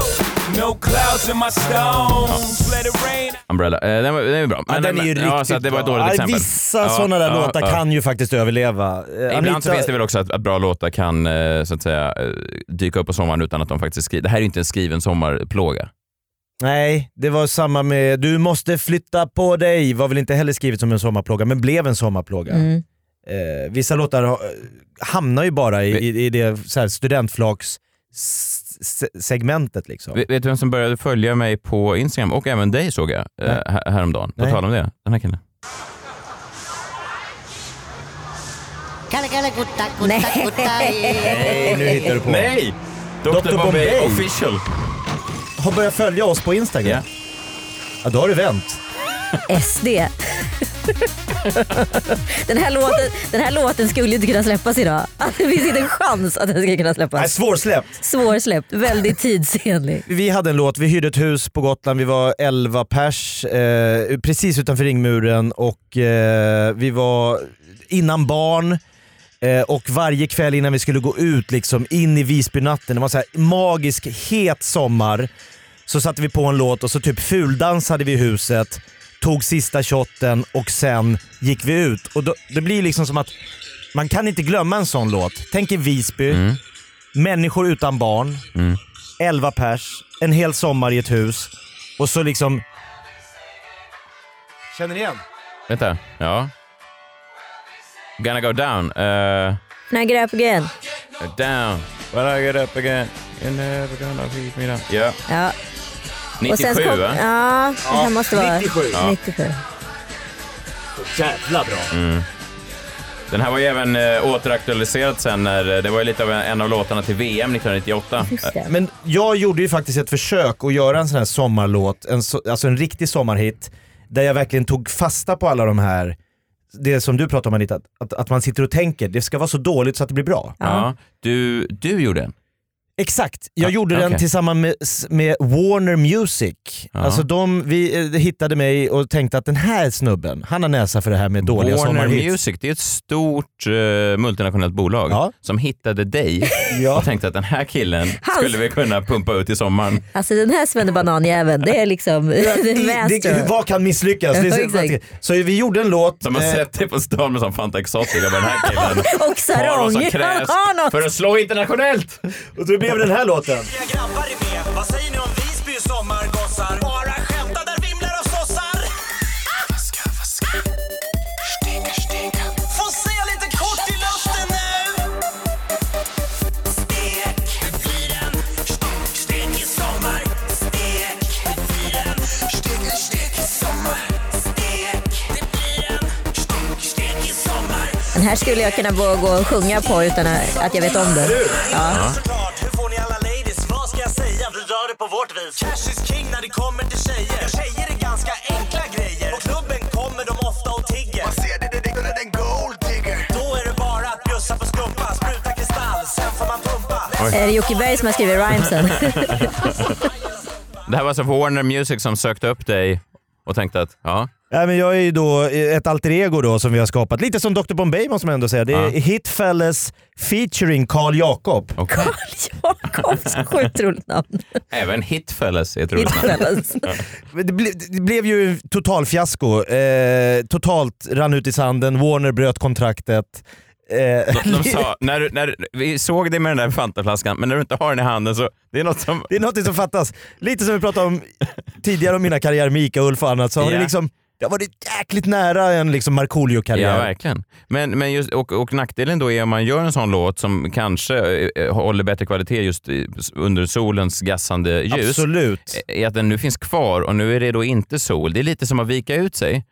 Oh, No clouds in my stones. Let it rain. Umbrella. Eh, den, var, den är bra. Ja, den är ju men- riktigt ja, så att det var ett bra. dåligt Ja, exempel. Vissa sådana där låtar kan ju faktiskt överleva. Eh, Ibland så Anita- finns det väl också att, att bra låtar kan eh, så att säga, eh, dyka upp på sommaren utan att de faktiskt skriver. Det här är ju inte en skriven sommarplåga. Nej, det var samma med Du måste flytta på dig var väl inte heller skrivet som en sommarplåga, men blev en sommarplåga. Mm. Eh, vissa låtar har, hamnar ju bara i, i, i det så här, studentflaks s- s- segmentet liksom. Vet vet du vem som började följa mig på Instagram och även dig såg jag eh, Nej. här, häromdagen. På Nej. tal om det, den här killen. Kalle, kalle, gutta, Nej. gutta, gutta. Nej, nu hittar du på. Nej! Dr. Bombay official. Har börjat följa oss på Instagram. Ja, då har du vänt. SD. den, här låten, den här låten skulle inte kunna släppas idag. Det finns inte en chans att den ska kunna släppas. Nej, svårsläppt. Svårsläppt, väldigt tidsenlig. Vi hade en låt, vi hyrde ett hus på Gotland, vi var 11 pers, eh, precis utanför ringmuren och eh, vi var innan barn. Eh, och varje kväll innan vi skulle gå ut liksom in i Visbynatten, det var så här magisk het sommar. Så satte vi på en låt och så typ fuldansade vi i huset, tog sista shotten och sen gick vi ut. Och då, det blir liksom som att man kan inte glömma en sån låt. Tänk i Visby, människor utan barn, 11 pers, en hel sommar i ett hus och så liksom... Känner ni igen? Vänta. Ja. Gonna go down. eh, När jag grep igen. down. When I get up again. You're never gonna beat me down. Ja. Ja. 97 så kom- va? Ja, det här måste vara 97. Ja. 97. Jävla bra. Mm. Den här var ju även eh, återaktualiserad sen när eh, det var ju lite av en, en av låtarna till VM 1998. Men jag gjorde ju faktiskt ett försök att göra en sån här sommarlåt, en so alltså en riktig sommarhit, där jag verkligen tog fasta på alla de här, det som du pratade om Anita, att- att, att man sitter och tänker, det ska vara så dåligt så att det blir bra. Ja. Du, du gjorde den? Exakt, jag gjorde den okej. tillsammans med, s- med Warner Music. Alltså de, vi eh, hittade mig och tänkte att den här snubben, han har näsa för det här med dåliga Warner sommarhits. Music, det är ett stort eh, multinationellt bolag som hittade <laughs> dig och tänkte att den här killen Han- skulle vi kunna pumpa ut i sommaren. Alltså den här svennebananjäveln, <laughs> det är liksom the Det- det- master. Vad kan misslyckas? Det Ja, är, exakt. så vi gjorde en låt. Som har eh, sett dig på stan med sån Fanta Exotic. Jag bara, den här killen Och har vad som sarong. krävs Han har något. för att slå internationellt. Och då blev den här låten. grabbar är med. Vad säger ni om Visby sommargossar? Bara skämta, där vimlar av sossar. Få se lite kort i luften nu. Stek fyren. Stek i sommar. Stek fyren. Stek, stek i sommar. Stek. Det blir en stek i sommar. Den här skulle jag kunna våga gå och sjunga på utan att jag vet om det. Ja. Såklart, hur får ni alla ladies? Vad ska jag säga? Vi rör det på vårt vis. Cash is king när det kommer till tjejer. Ja, tjejer är ganska enkla grejer. På klubben kommer de ofta och tigger. Man ser det direkt när den gold digger. Då är det bara att bjussa på skumpa, spruta kristall, sen får man pumpa. Är det Eh, Jocke Berg som har skrivit <laughs> rhymesen? Det här var alltså Warner Music som sökte upp dig och tänkte att ja, Nej, men jag är ju då ett alter ego då som vi har skapat. Lite som Dr Bombay måste man ändå säga. Det är Ja. Hitfellas featuring Carl Jakob. Jakob, så sjukt roligt namn. Även Hitfellas är ett roligt namn. Hitfellas. Ja. Men Det, ble, det blev ju total fiasko. Eh, totalt rann ut i sanden. Warner bröt kontraktet. Eh, De, de sa, när, du- när, vi såg dig med den där Fantaflaskan, men när du inte har den i handen så det är något som... <laughs> Det är något som fattas. Lite som vi pratade om tidigare om mina karriärer med Ica, Ulf och annat, så har Ja. det liksom det har varit jäkligt nära en liksom Markoolio-karriär. Ja, verkligen. Men, men just, och, och nackdelen då är om man gör en sån låt som kanske eh, håller bättre kvalitet just i- under solens gassande ljus. eh, Absolut. Är att den nu finns kvar och nu är det då inte sol. Det är lite som att vika <laughs> ut sig.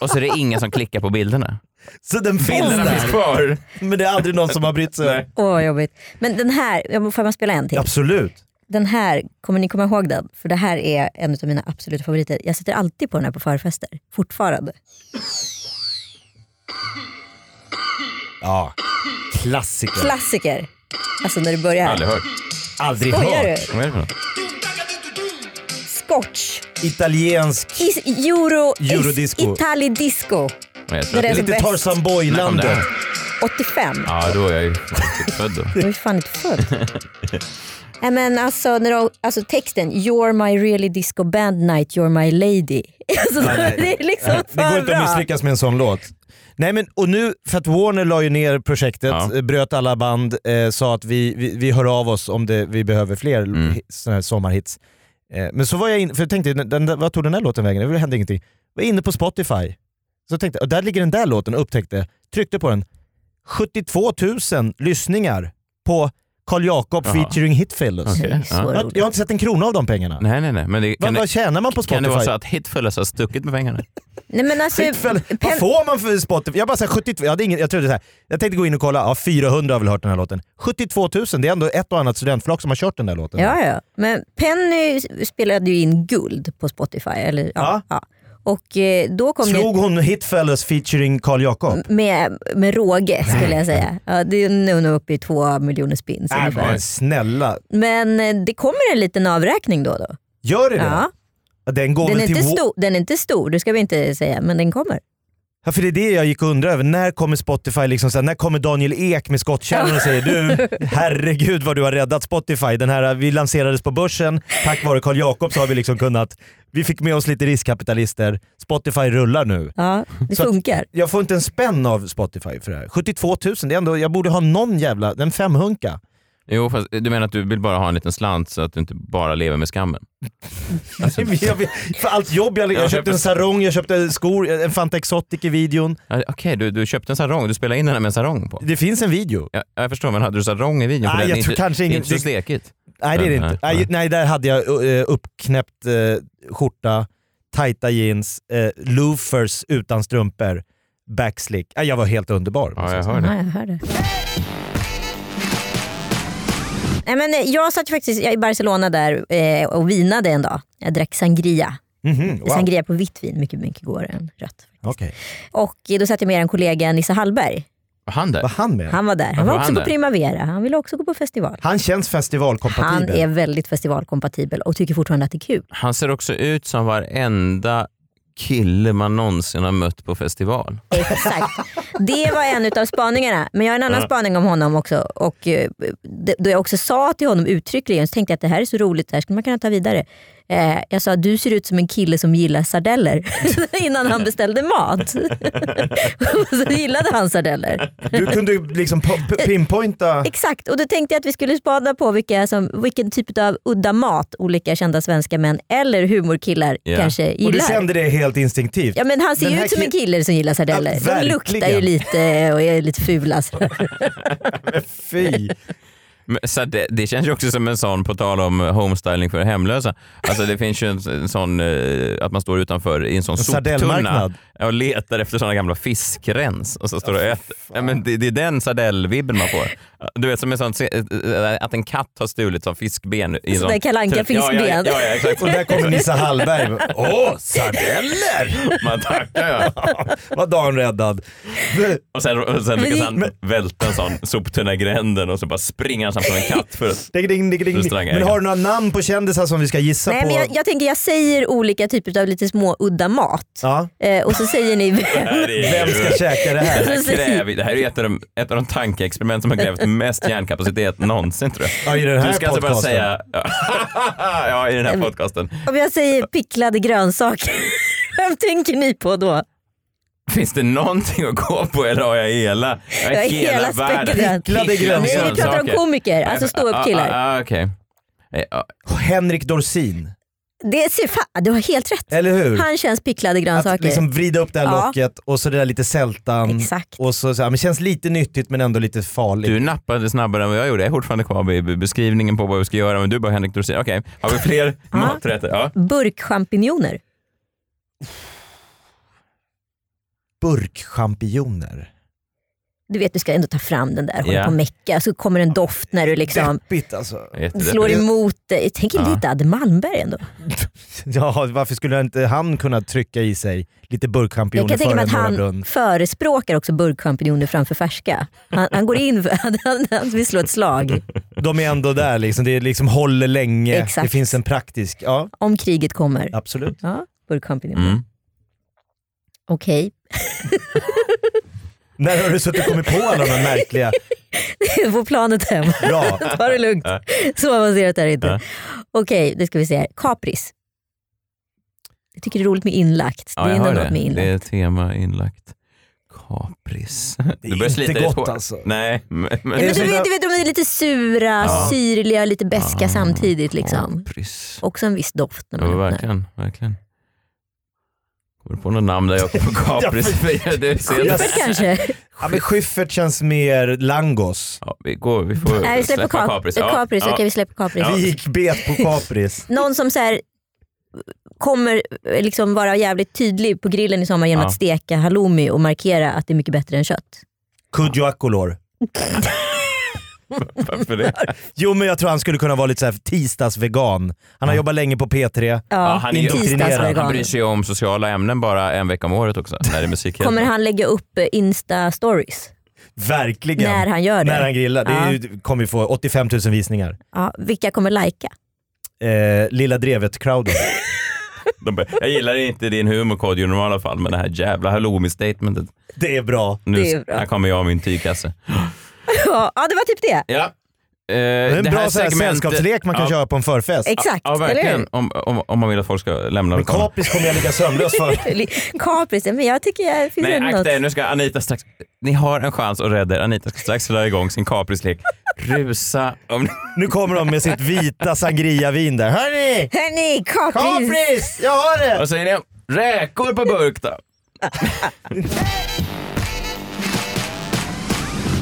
och så är det ingen som klickar på bilderna. Så den finns Bilderna där. finns kvar. Men det är aldrig någon som har brytt sig. Åh vad jobbigt. Men den här, jag må- får man spela en till? Absolut. Den här, kommer ni komma ihåg den? För det här är en av mina absoluta favoriter. Jag sätter alltid på den här på förfester, fortfarande. Ja, klassiker. Klassiker. Alltså när det börjar. Aldrig hört. Aldrig Skojar hört. du? Vad är det för något? Scotch. Italiensk. Is, euro... Eurodisco. Is, Itali disco. Men jag tror När det är att som Lite bäst. Tarzan Boy-landet. 85. Ja, då är jag ju typ född då. Jag är fan <laughs> inte född. Nej, men alltså, när de, alltså texten, you're my really disco band night, you're my lady. <laughs> Alltså, det är liksom Nej, Det går inte för att bra. misslyckas med en sån låt. Nej men, och nu, för att Warner la ju ner projektet, eh, bröt alla band, eh, sa att vi, vi, vi hör av oss om det, vi behöver fler mm. såna här sommarhits. Eh, men så var jag inne, för jag tänkte, den, den, vad tog den här låten vägen? Det hände ingenting. Var inne på Spotify, så tänkte jag, "Och där ligger den där låten, upptäckte, tryckte på den. 72 000 lyssningar på Carl Jakob Jaha. featuring Hitfellas. Okej, ja. Jag, har- jag har inte sett en krona av de pengarna. Nej, nej, nej. Men det, Vad- vad tjänar man på Kan det vara Spotify? så att Hitfellas har stuckit med pengarna? Nej, men alltså, Skitfäll. Typ, Vad pen- får man för Spotify? Jag bara såhär 72, jag, hade ingen, jag, trodde så här, jag tänkte gå in och kolla, ja 400 har väl hört den här låten. 72 000, det är ändå ett och annat studentflak som har kört den där låten. Ja, ja. Men Penny spelade ju in guld på Spotify. Eller, ja, ja. Och eh, då kom Slog det hon Hitfellas featuring Carl Jakob? Mm, med, med råge skulle jag säga. Ja, det är nu nog uppe i två miljoner spins Äh, ungefär. men snälla, Men eh, det kommer en liten avräkning då och då. gör det Ja. det? Den går Den är, väl till... inte Wa- stor, den är inte stor, det ska vi inte säga, men den kommer. Ja, för det är det jag gick och undrade över. När kommer Spotify, liksom, såhär, när kommer Daniel Ek med skottkärran och säger <laughs> du, herregud vad du har räddat Spotify. Den här, vi lanserades på börsen, tack vare Carl Jakob så har vi liksom kunnat, vi fick med oss lite riskkapitalister, Spotify rullar nu. Ja, det Så att funkar. Jag får inte en spänn av Spotify för det här. 72 000, det är ändå, jag borde ha någon jävla, en femhunka. Jo, fast du menar att du vill bara ha en liten slant så att du inte bara lever med skammen? <laughs> Alltså, <laughs> Jag vet- för allt jobb jag, jag köpte en sarong, jag köpte skor, en Fanta Exotic i videon. Ja, Okej, du, du köpte en sarong. Du spelade in den här med en sarong på. Det finns en video. Ja, jag förstår, men hade du sarong i videon? För Nej, den är jag tror inte, kanske det är ingen- inte så det- stekigt. Nej det är det inte. Nej, ju- nej där hade jag eh, uppknäppt eh, skjorta, tajta jeans, eh, loafers utan strumpor, backslick. Nej, jag var helt underbar. Ja, jag hör Ja, jag hör det. Nej, men eh, jag satt ju faktiskt i Barcelona där eh, och vinade en dag. Jag drack sangria. Mhm, wow. Sangria på vitt vin, mycket, mycket godare än rött. Okej. Och eh, då satt jag med en kollega, Nisse Hallberg. Var han där? Var han med? Han var där. Han var också på Primavera. Han ville också gå på festival. Han känns Han festivalkompatibel. är väldigt festivalkompatibel och tycker fortfarande att det är kul. Han ser också ut som varenda kille man någonsin har mött på festival. Exakt. <laughs> Det var en utav spaningarna. Men jag har en annan Ja. spaning om honom också. Och, eh, d- då jag också sa till honom uttryckligen, så tänkte jag att det här är så roligt, det här skulle man kunna ta vidare. Eh, jag sa, du ser ut som en kille som gillar sardeller. <laughs> Innan han beställde mat. <laughs> Och så gillade han sardeller. Du kunde ju liksom po- <laughs> p- pinpointa... Exakt, och då tänkte jag att vi skulle spana på vilka som, vilken typ av udda mat olika kända svenska män eller humorkillar kanske gillar. Och du kände det helt instinktivt? Ja men han ser Den ju här ut som en ki- kille som gillar sardeller. Ja, De luktar ju verkligen. lite eh, och är <laughs> lite fula. så. Fy. Men, så att det, det känns ju också som en sån, på tal om eh, homestyling för hemlösa, alltså det finns ju en, en sån, eh, att man står utanför i en sån En soptunna sardellmarknad. och letar efter såna gamla fiskrens och så står du och äter. Ja, men det, det är den sardellvibben man får. Du vet som en sån, se- eh, att en katt har stulits av fiskben. i en Sån där Kalle Anka-fiskben. Ja, ja, ja, ja, exakt. Och där kommer Nisse Hallberg. Åh, sardeller! Man tackar ja. Vad dagen räddad. Och sen, och Men sen lyckas det- han välta en sån soptunna i gränden och så bara springer han som en katt för att Ding, ding, ding, ding. Restaurangägaren. Men har du några namn på kändisar som vi ska gissa Nej, på? men jag, jag tänker jag säger olika typer av lite små udda mat. Ja. Eh, och så säger ni Det <laughs> här är ju- Vem ska käka det här? Det här, kräver, det här är ju ett av de, ett av de tankeexperiment som har krävt mest hjärnkapacitet någonsin tror jag. Ja, i den här du ska alltså bara podcasten. säga, <laughs> ja i den här podcasten. Om jag säger picklade grönsaker, <laughs> vem tänker ni på då? Finns det någonting att gå på eller har jag hela, jag har Ja, hela världen? <laughs> spektrat. Picklade grönsaker. Nej, vi pratar om Grönsaker. komiker, alltså ståuppkillar. Ah, ah, ah, okej. Eh, ah. Henrik Dorsin. Det ser fan, du har helt rätt. Eller hur? Han känns picklade grönsaker. ah. Att liksom vrida upp det här Ja. locket och så det där lite sältan. Exakt. Och så, så här, men känns lite nyttigt men ändå lite farligt. Du nappade snabbare än vad jag gjorde. Jag är fortfarande kvar vid beskrivningen på vad vi ska göra, men du bara Henrik Dorsin. Okej, har vi fler maträtter? Ja. Burkchampinjoner. Burkchampinjoner. Du vet, du ska ändå ta fram den där, hålla Ja. på och mecka, så kommer en doft när du liksom Deppigt alltså. slår emot dig. Tänk Ja. lite Adde Malmberg ändå. Ja, varför skulle inte han kunna trycka i sig lite Jag burkchampinjoner kan tänka före mig att Norra han Brunn? förespråkar också burkchampinjoner framför färska. Han, han går in för han, han, han vill slå ett slag De är ändå där liksom. Det är liksom håller länge. Exakt. Det finns en praktisk... Ja, om kriget kommer. absolut. Ja, burkchampinjoner. Mm. Okej, <laughs> När har du suttit och kommit på alla de här märkliga... på planet hem. Bra. Ta det lugnt. Så avancerat är det inte. Nej. Okej, det ska vi se här. Kapris. Jag tycker det är roligt med inlagt. Ja, det jag är ändå hör något med det. inlagt. Det är tema inlagt. Kapris. Det inte gott, alltså. Nej, men, men, Nej, men du, vet, du vet, de är lite sura, Ja. syrliga, lite beska samtidigt. Liksom. Kapris. Också en viss doft när Ja, man öppnar. verkligen, verkligen. Kommer du på något namn där <laughs> jag på Kapris? <laughs> Det ser- <laughs> Skiffer kanske? Ja, men Schyffert känns mer langos. Ja, vi, går, vi får Nej, vi släpper kap- kapris. kapris. Okej, vi släpper kapris. Vi gick bet på kapris. Någon som så här, kommer eh, liksom vara jävligt tydlig på grillen i sommar genom Ja. att steka halloumi och markera att det är mycket bättre än kött. Kodjo Akolor. Varför <laughs> det? Jo men jag tror han skulle kunna vara lite såhär tisdagsvegan. Han har jobbat länge på P3. Ja, han, är, Indoktrinerad. han bryr sig om sociala ämnen bara en vecka om året också. När det är musik Kommer han lägga upp eh, Insta-stories? Verkligen. När han gör det. När han grillar. Det är Ja. ju, kommer vi få 85 000 visningar. Ja, vilka kommer lajka? <laughs> Eh, Lilla <laughs> Drevet-crowden. De bara, jag gillar inte din humor Kodjo i normala fall, men det här jävla halloumi-statementet. Det är bra. Nu, Det är bra. Här kommer jag och min tygkasse. ja, det var typ det. Ja. Eh, Det är en det bra här så här segmentet- sällskapslek man kan Ja. köra på en förfest. Exakt, Ja, eller verkligen. hur? Om, om, om man vill att folk ska lämna Men lokalen. kapris kommer jag ligga sömnlös för. <laughs> Kapris, men jag tycker jag finns Nej, ändå något. akta er. Nu ska Anita strax... Ni har en chans att rädda er. Anita ska strax dra igång sin kaprislek. Rusa om ni... Nu kommer de med sitt vita sangria-vin där. Hörni! Hörni, kapris! Kapris! Jag har det! Vad säger ni om räkor på burk då?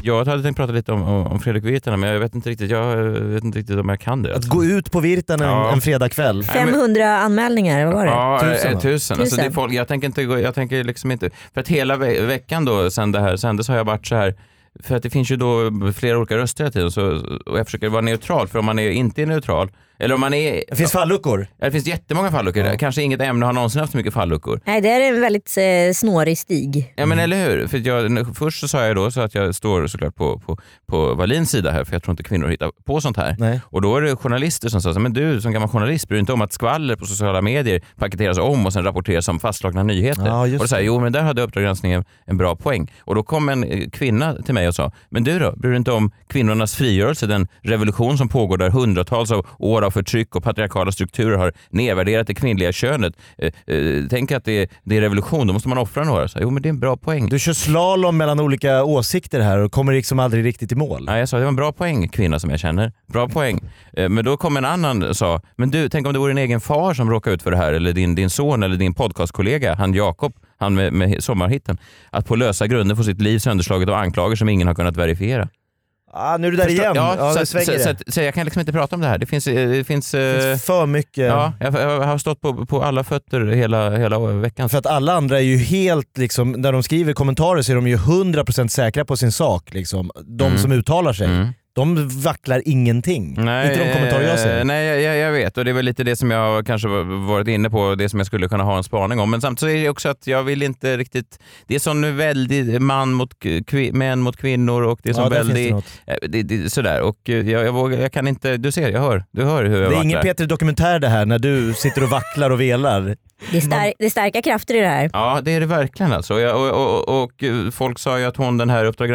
Jag hade tänkt prata lite om, om, om Fredrik Virtanen, men jag vet, inte riktigt, jag eh, vet inte riktigt om jag kan det. Att gå ut på Virtanen Ja. en fredagkväll. 500 anmälningar, vad var det? Ja, tusen. tusen. Alltså, det är Tusen. folk, jag, tänker inte, gå- jag tänker liksom inte... För att hela ve veckan då, sen det här sändes har jag varit så här... För att det finns ju då flera olika röster hela tiden så, och jag försöker vara neutral. För om man är, inte är neutral, eller om man är... Det finns falluckor. Ja, det finns jättemånga falluckor. Kanske inget ämne har någonsin haft så mycket falluckor. Nej, det här är en väldigt eh, snårig stig. Ja men Mm. eller hur? För att jag, först så sa jag då så att jag står såklart på, på, på Wallins sida här för jag tror inte kvinnor hittar på sånt här. Och då är det journalister som sa så här, men du som gammal journalist bryr dig inte om att skvaller på sociala medier paketeras om och sen rapporteras som fastslagna nyheter. Ja, just och då sa jag, jo men där hade Uppdrag granskning en- en bra poäng. Och då kom en eh, kvinna till mig och sa, men du då, bryr du dig inte om kvinnornas frigörelse, den revolution som pågår där hundratals av år av förtryck och patriarkala strukturer har nedvärderat det kvinnliga könet. Eh, eh, tänk att det är, det är revolution, då måste man offra några. Så, jag, jo men det är en bra poäng. Du kör slalom mellan olika åsikter här och kommer liksom aldrig riktigt i mål. Nej, jag sa det var en bra poäng, kvinna som jag känner. Bra poäng. Eh, Men då kom en annan och sa, men du, tänk om det vore din egen far som råkade ut för det här, eller din, din son eller din podcastkollega, han Jakob, han med, med sommarhitten. Att på lösa grunder få sitt liv sönderslaget av anklagelser som ingen har kunnat verifiera. Ah, nu är du där Förstå- igen. Ja, Ja, så, det att- så, svänger så, det. att- så jag kan liksom inte prata om det här. Det finns... eh, Det finns, Det eh, finns för mycket. Ja, jag, jag har stått på, på alla fötter hela, hela veckan. För att alla andra är ju helt, liksom, när de skriver kommentarer så är de ju 100% säkra på sin sak. Liksom. De Mm. som uttalar sig. De vacklar ingenting. inte de kommentarer jag ser. eh, Nej, jag- jag, jag vet och det är väl lite det som jag kanske var- varit inne på, det som jag skulle kunna ha en spaning om. Men samtidigt är det också att jag vill inte riktigt... Det är sån väldigt man mot kvi, män mot kvinnor och det är Ja, sån där finns det väldigt... något. eh, Det, det, sådär och eh, jag, jag vågar, jag kan inte... Du ser, jag hör. Du hör hur jag Det är vacklar. ingen Peter Dokumentär det här när du sitter och vacklar och <laughs> velar. Det är, star- det är starka krafter i det här. Ja, det är det verkligen alltså. Jag, och, och, och, och eh, folk sa ju att hon, den här Uppdrag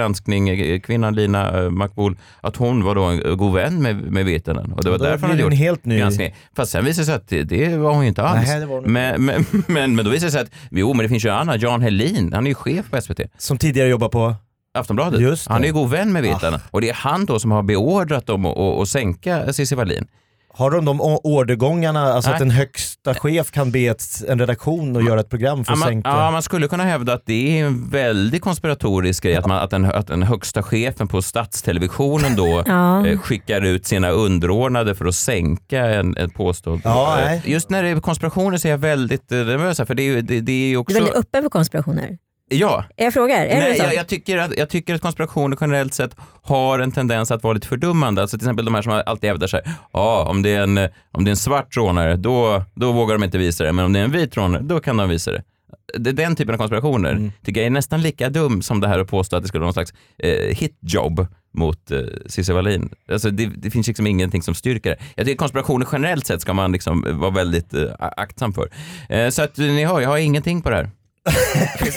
granskning-kvinnan Lina eh, Makbul, att hon var då en eh, god vän med, med Virtanen. Och det var då därför blir han det hade en gjort helt ny- granskning. Fast sen visade det sig att det, det var hon ju inte alls. Nej, det var hon men, men, <laughs> men, men då visade det sig att, jo men det finns ju en annan, Jan Helin, han är ju chef på SVT. Som tidigare jobbar på? Aftonbladet. Just det. Ah. han är ju god vän med Virtanen. Och det är han då som har beordrat dem att- att att sänka Cissi Wallin. Har de de o- ordergångarna, alltså Nej. att en högsta chef kan be ett, en redaktion och göra ett program för Ja, att man, sänka? ja, man skulle kunna hävda att det är en väldigt konspiratorisk grej att, man, att, den, att den högsta chefen på statstelevisionen då Ja. eh, skickar ut sina underordnade för att sänka en, en påstådd... Ja, Eh, nej. Just när det är konspirationer så är jag väldigt eh, nervös här, för det är ju det, det är ju Du också... är väldigt öppen för konspirationer. Ja. Jag frågar, är det Nej, så? jag, jag, tycker att, jag tycker att konspirationer generellt sett har en tendens att vara lite fördummande. Alltså till exempel de här som alltid hävdar sig. Ja, om det är en, eh, om det är en svart rånare, då, då vågar de inte visa det. Men om det är en vit rånare, då kan de visa det. det den typen av konspirationer Mm. tycker jag är nästan lika dum som det här att påstå att det skulle vara någon slags eh, hitjob mot eh, Cissi Wallin. Alltså det, det finns liksom ingenting som styrker det. Jag tycker konspirationer generellt sett ska man liksom vara väldigt eh, aktsam för. Eh, så att eh, ni hör, jag har ingenting på <laughs> det här.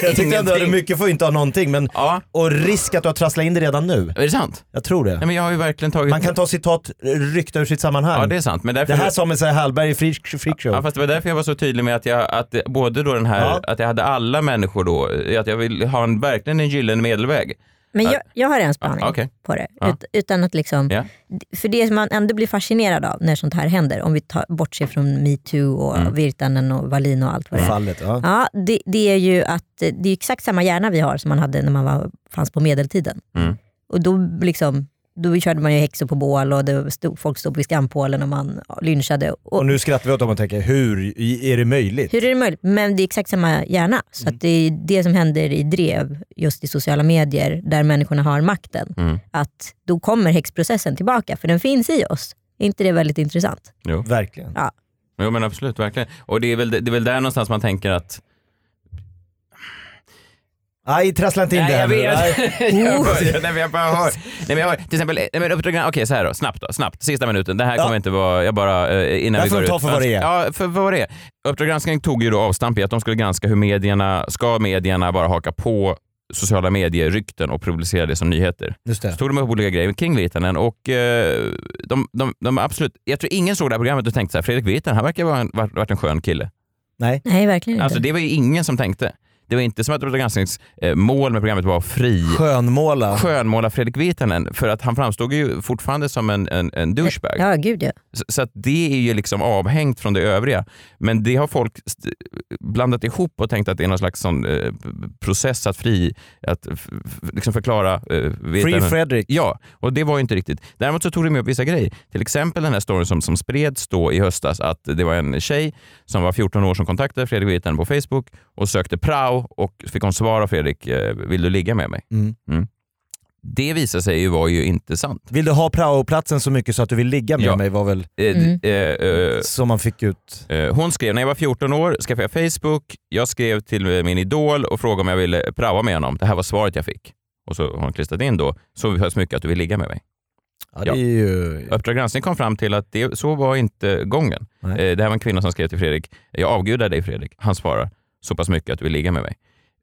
jag tyckte ändå att mycket får inte ha någonting, men, och risk att du har trasslat in det redan nu. Är det sant? Jag tror det. Nej, men jag har ju verkligen tagit... Man kan ta citat eh, ryckta ur sitt sammanhang. Ja, det är sant. Men därför- Det här sa Messiah Hallberg i Freak Freak Show. Ja, fast det var därför jag var så tydlig med att jag, att det- både då den här, Ja. att jag hade alla människor då, att jag vill ha en, verkligen en gyllene medelväg. Men Att- jag, jag har en spaning Ja, okej. på det. Ja. Ut, utan att liksom, Ja. För det som man ändå blir fascinerad av när sånt här händer, om vi tar, bortser från metoo och Mm. Virtanen och Wallin och allt vad det är. Fallet, ja. Ja, det, det är ju att eh, det är exakt samma hjärna vi har som man hade när man var, fanns på medeltiden. Mm. Och då, liksom, då körde man ju häxor på bål och det stod, folk stod vid skampålen och man lynchade. Och, Och nu skrattar vi åt dem och tänker, hur i- är det möjligt? hur är det möjligt? Men det är exakt samma hjärna. Så Mm. att det är det som händer i drev, just i sociala medier, där människorna har makten. Mm. Att då kommer häxprocessen tillbaka, för den finns i oss. Är inte det väldigt intressant? Jo. Verkligen. Ja. Jo men absolut, verkligen. Och det är väl, det är väl där någonstans man <laughs> tänker att... Nej, trassla inte in Nej, det här jag nu. Nej. vet. jag bara, nej, men jag bara hör. Nej, men jag hör. Till exempel, nej, men uppdrag, okej så här då, snabbt då, snabbt, sista minuten. Det här Ja. kommer inte vara, jag bara, eh, Det innan här vi får går du ta ut. för vad det är. Ja, för för vad det är. Uppdrag granskning tog ju då avstamp i att de skulle granska hur medierna, ska medierna bara haka på sociala medier-rykten och publicera det som nyheter? Just det. Så tog de upp olika grejer kring Virtanen och eh, de, de, de absolut, jag tror ingen såg det här programmet och tänkte så här, Fredrik Virtanen, han verkar vara en, varit, varit en skön kille. Nej. Nej, verkligen inte. Alltså det var ju ingen som tänkte. Det var inte som att Uppdrag gransknings eh, mål med programmet var att fri Skönmåla. skönmåla Fredrik Virtanen för att han framstod ju fortfarande som en, en, en douchebag. Ja, gud ja. Så, så att det är ju liksom avhängt från det övriga. Men det har folk st- blandat ihop och tänkt att det är någon slags sån, eh, process att, fri, att f- f- liksom förklara eh, Virtanen. Fredrik. Ja, och det var ju inte riktigt. Däremot så tog de med upp vissa grejer. Till exempel den här storyn som, som spreds då i höstas att det var en tjej som var 14 år som kontaktade Fredrik Virtanen på Facebook och sökte prao och fick hon svar av Fredrik, eh, vill du ligga med mig? Mm. Mm. Det visade sig ju vara ju inte sant. Vill du ha praoplatsen så mycket så att du vill ligga med Ja. mig var väl Eh, d- eh, eh, som man fick ut. Eh, Hon skrev, när jag var 14 år skaffade jag Facebook. Jag skrev till eh, min idol och frågade om jag ville praoa med honom. Det här var svaret jag fick. Och så har hon klistrat in då, så pass mycket att du vill ligga med mig. Ja, det är ju... Uppdrag granskning kom fram till att det, så var inte gången. Eh, Det här var en kvinna som skrev till Fredrik. Jag avgudar dig Fredrik. Han svarar, så pass mycket att du vill ligga med mig.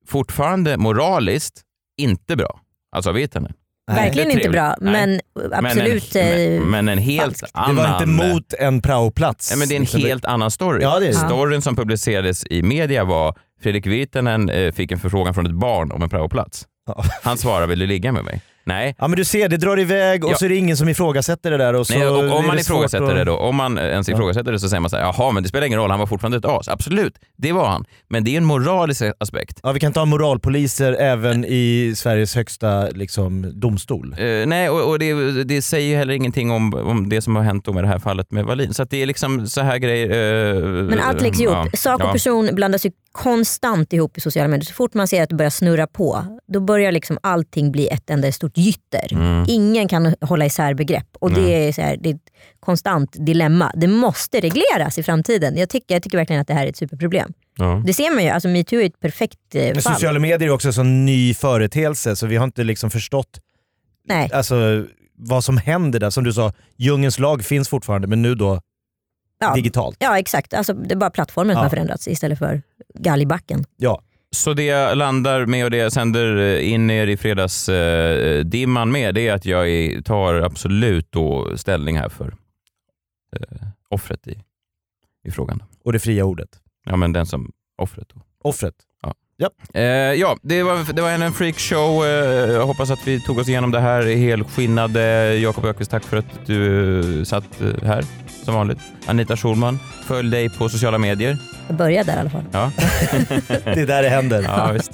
Fortfarande moraliskt inte bra. Alltså vet henne. Verkligen inte bra, men absolut... Men eh, en, men, men en helt Det annan... var inte mot en praoplats. liksom. Nej, men det är en Utan helt annan story. Ja, det är det. Storyn som publicerades i media var Fredrik Virtanen eh, fick en förfrågan från ett barn om en praoplats. Han svarade “Vill du ligga med mig?” Nej. Ja men du ser, det drar iväg och Ja. så är det ingen som ifrågasätter det där. Och så Nej, och är om man det svårt ifrågasätter att- det då, om man ens ifrågasätter det så säger man så här, jaha men det spelar ingen roll, han var fortfarande ett as. Absolut, det var han. Men det är en moralisk aspekt. Ja, vi kan ta moralpoliser även i Sveriges högsta liksom, domstol. Eh, nej, och, och det, det säger ju heller ingenting om, om det som har hänt då med det här fallet med Wallin. Så att det är liksom så här grejer. eh, Men allt läggs ihop. ja, Sak och ja. person blandas ju konstant ihop i sociala medier. Så fort man ser att det börjar snurra på, då börjar liksom allting bli ett enda stort ett gytter. Mm. Ingen kan hålla isär begrepp och det är, så här, det är ett konstant dilemma. Det måste regleras i framtiden. Jag tycker, jag tycker verkligen att det här är ett superproblem. Ja. Det ser man ju, alltså metoo är ett perfekt eh, Men fall. sociala medier är också en sån ny företeelse så vi har inte liksom förstått Nej. alltså, vad som händer där. Som du sa, djungelns lag finns fortfarande men nu då Ja. digitalt. Ja exakt, alltså, det är bara plattformen som Ja. har förändrats istället för galgbacken. Ja. Så det jag landar med och det jag sänder eh, in er i fredagsdimman eh, dimman med, det är att jag i- tar absolut då ställning här för eh, offret i, i frågan. Och det fria ordet? Ja, men den som offret. Då. Offret? Ja. Ja, eh, ja det, var, det var en freakshow. Eh, jag hoppas att vi tog oss igenom det här helskinnade. Jakob Ökvist, tack för att du eh, satt eh, här som vanligt. Anita Schulman, följ dig på sociala medier. Jag börjar där i alla fall. Ja. det är där det händer. Mm. <laughs> Ja, visst.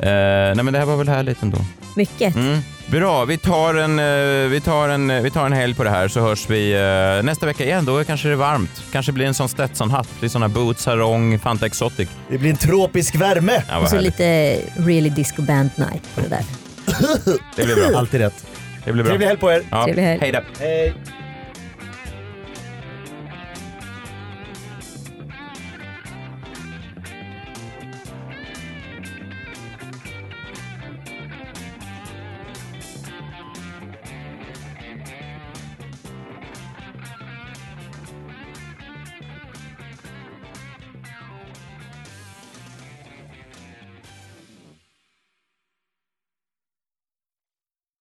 Eh, nej, men det här var väl härligt ändå. Mycket. Mm. Bra, vi tar, en, eh, vi, tar en, eh, vi tar en helg på det här så hörs vi eh, nästa vecka igen. Då kanske det är varmt. Kanske blir det en sån Stetson-hatt. Det blir såna boots, sarong, Fanta Exotic. Det blir en tropisk värme. Ja, och vad så härligt. lite really disco band night på det där. Det blir bra. Alltid rätt. Det blir bra. Trevlig helg på er. Ja. Trevlig helg. Hej då. Hej.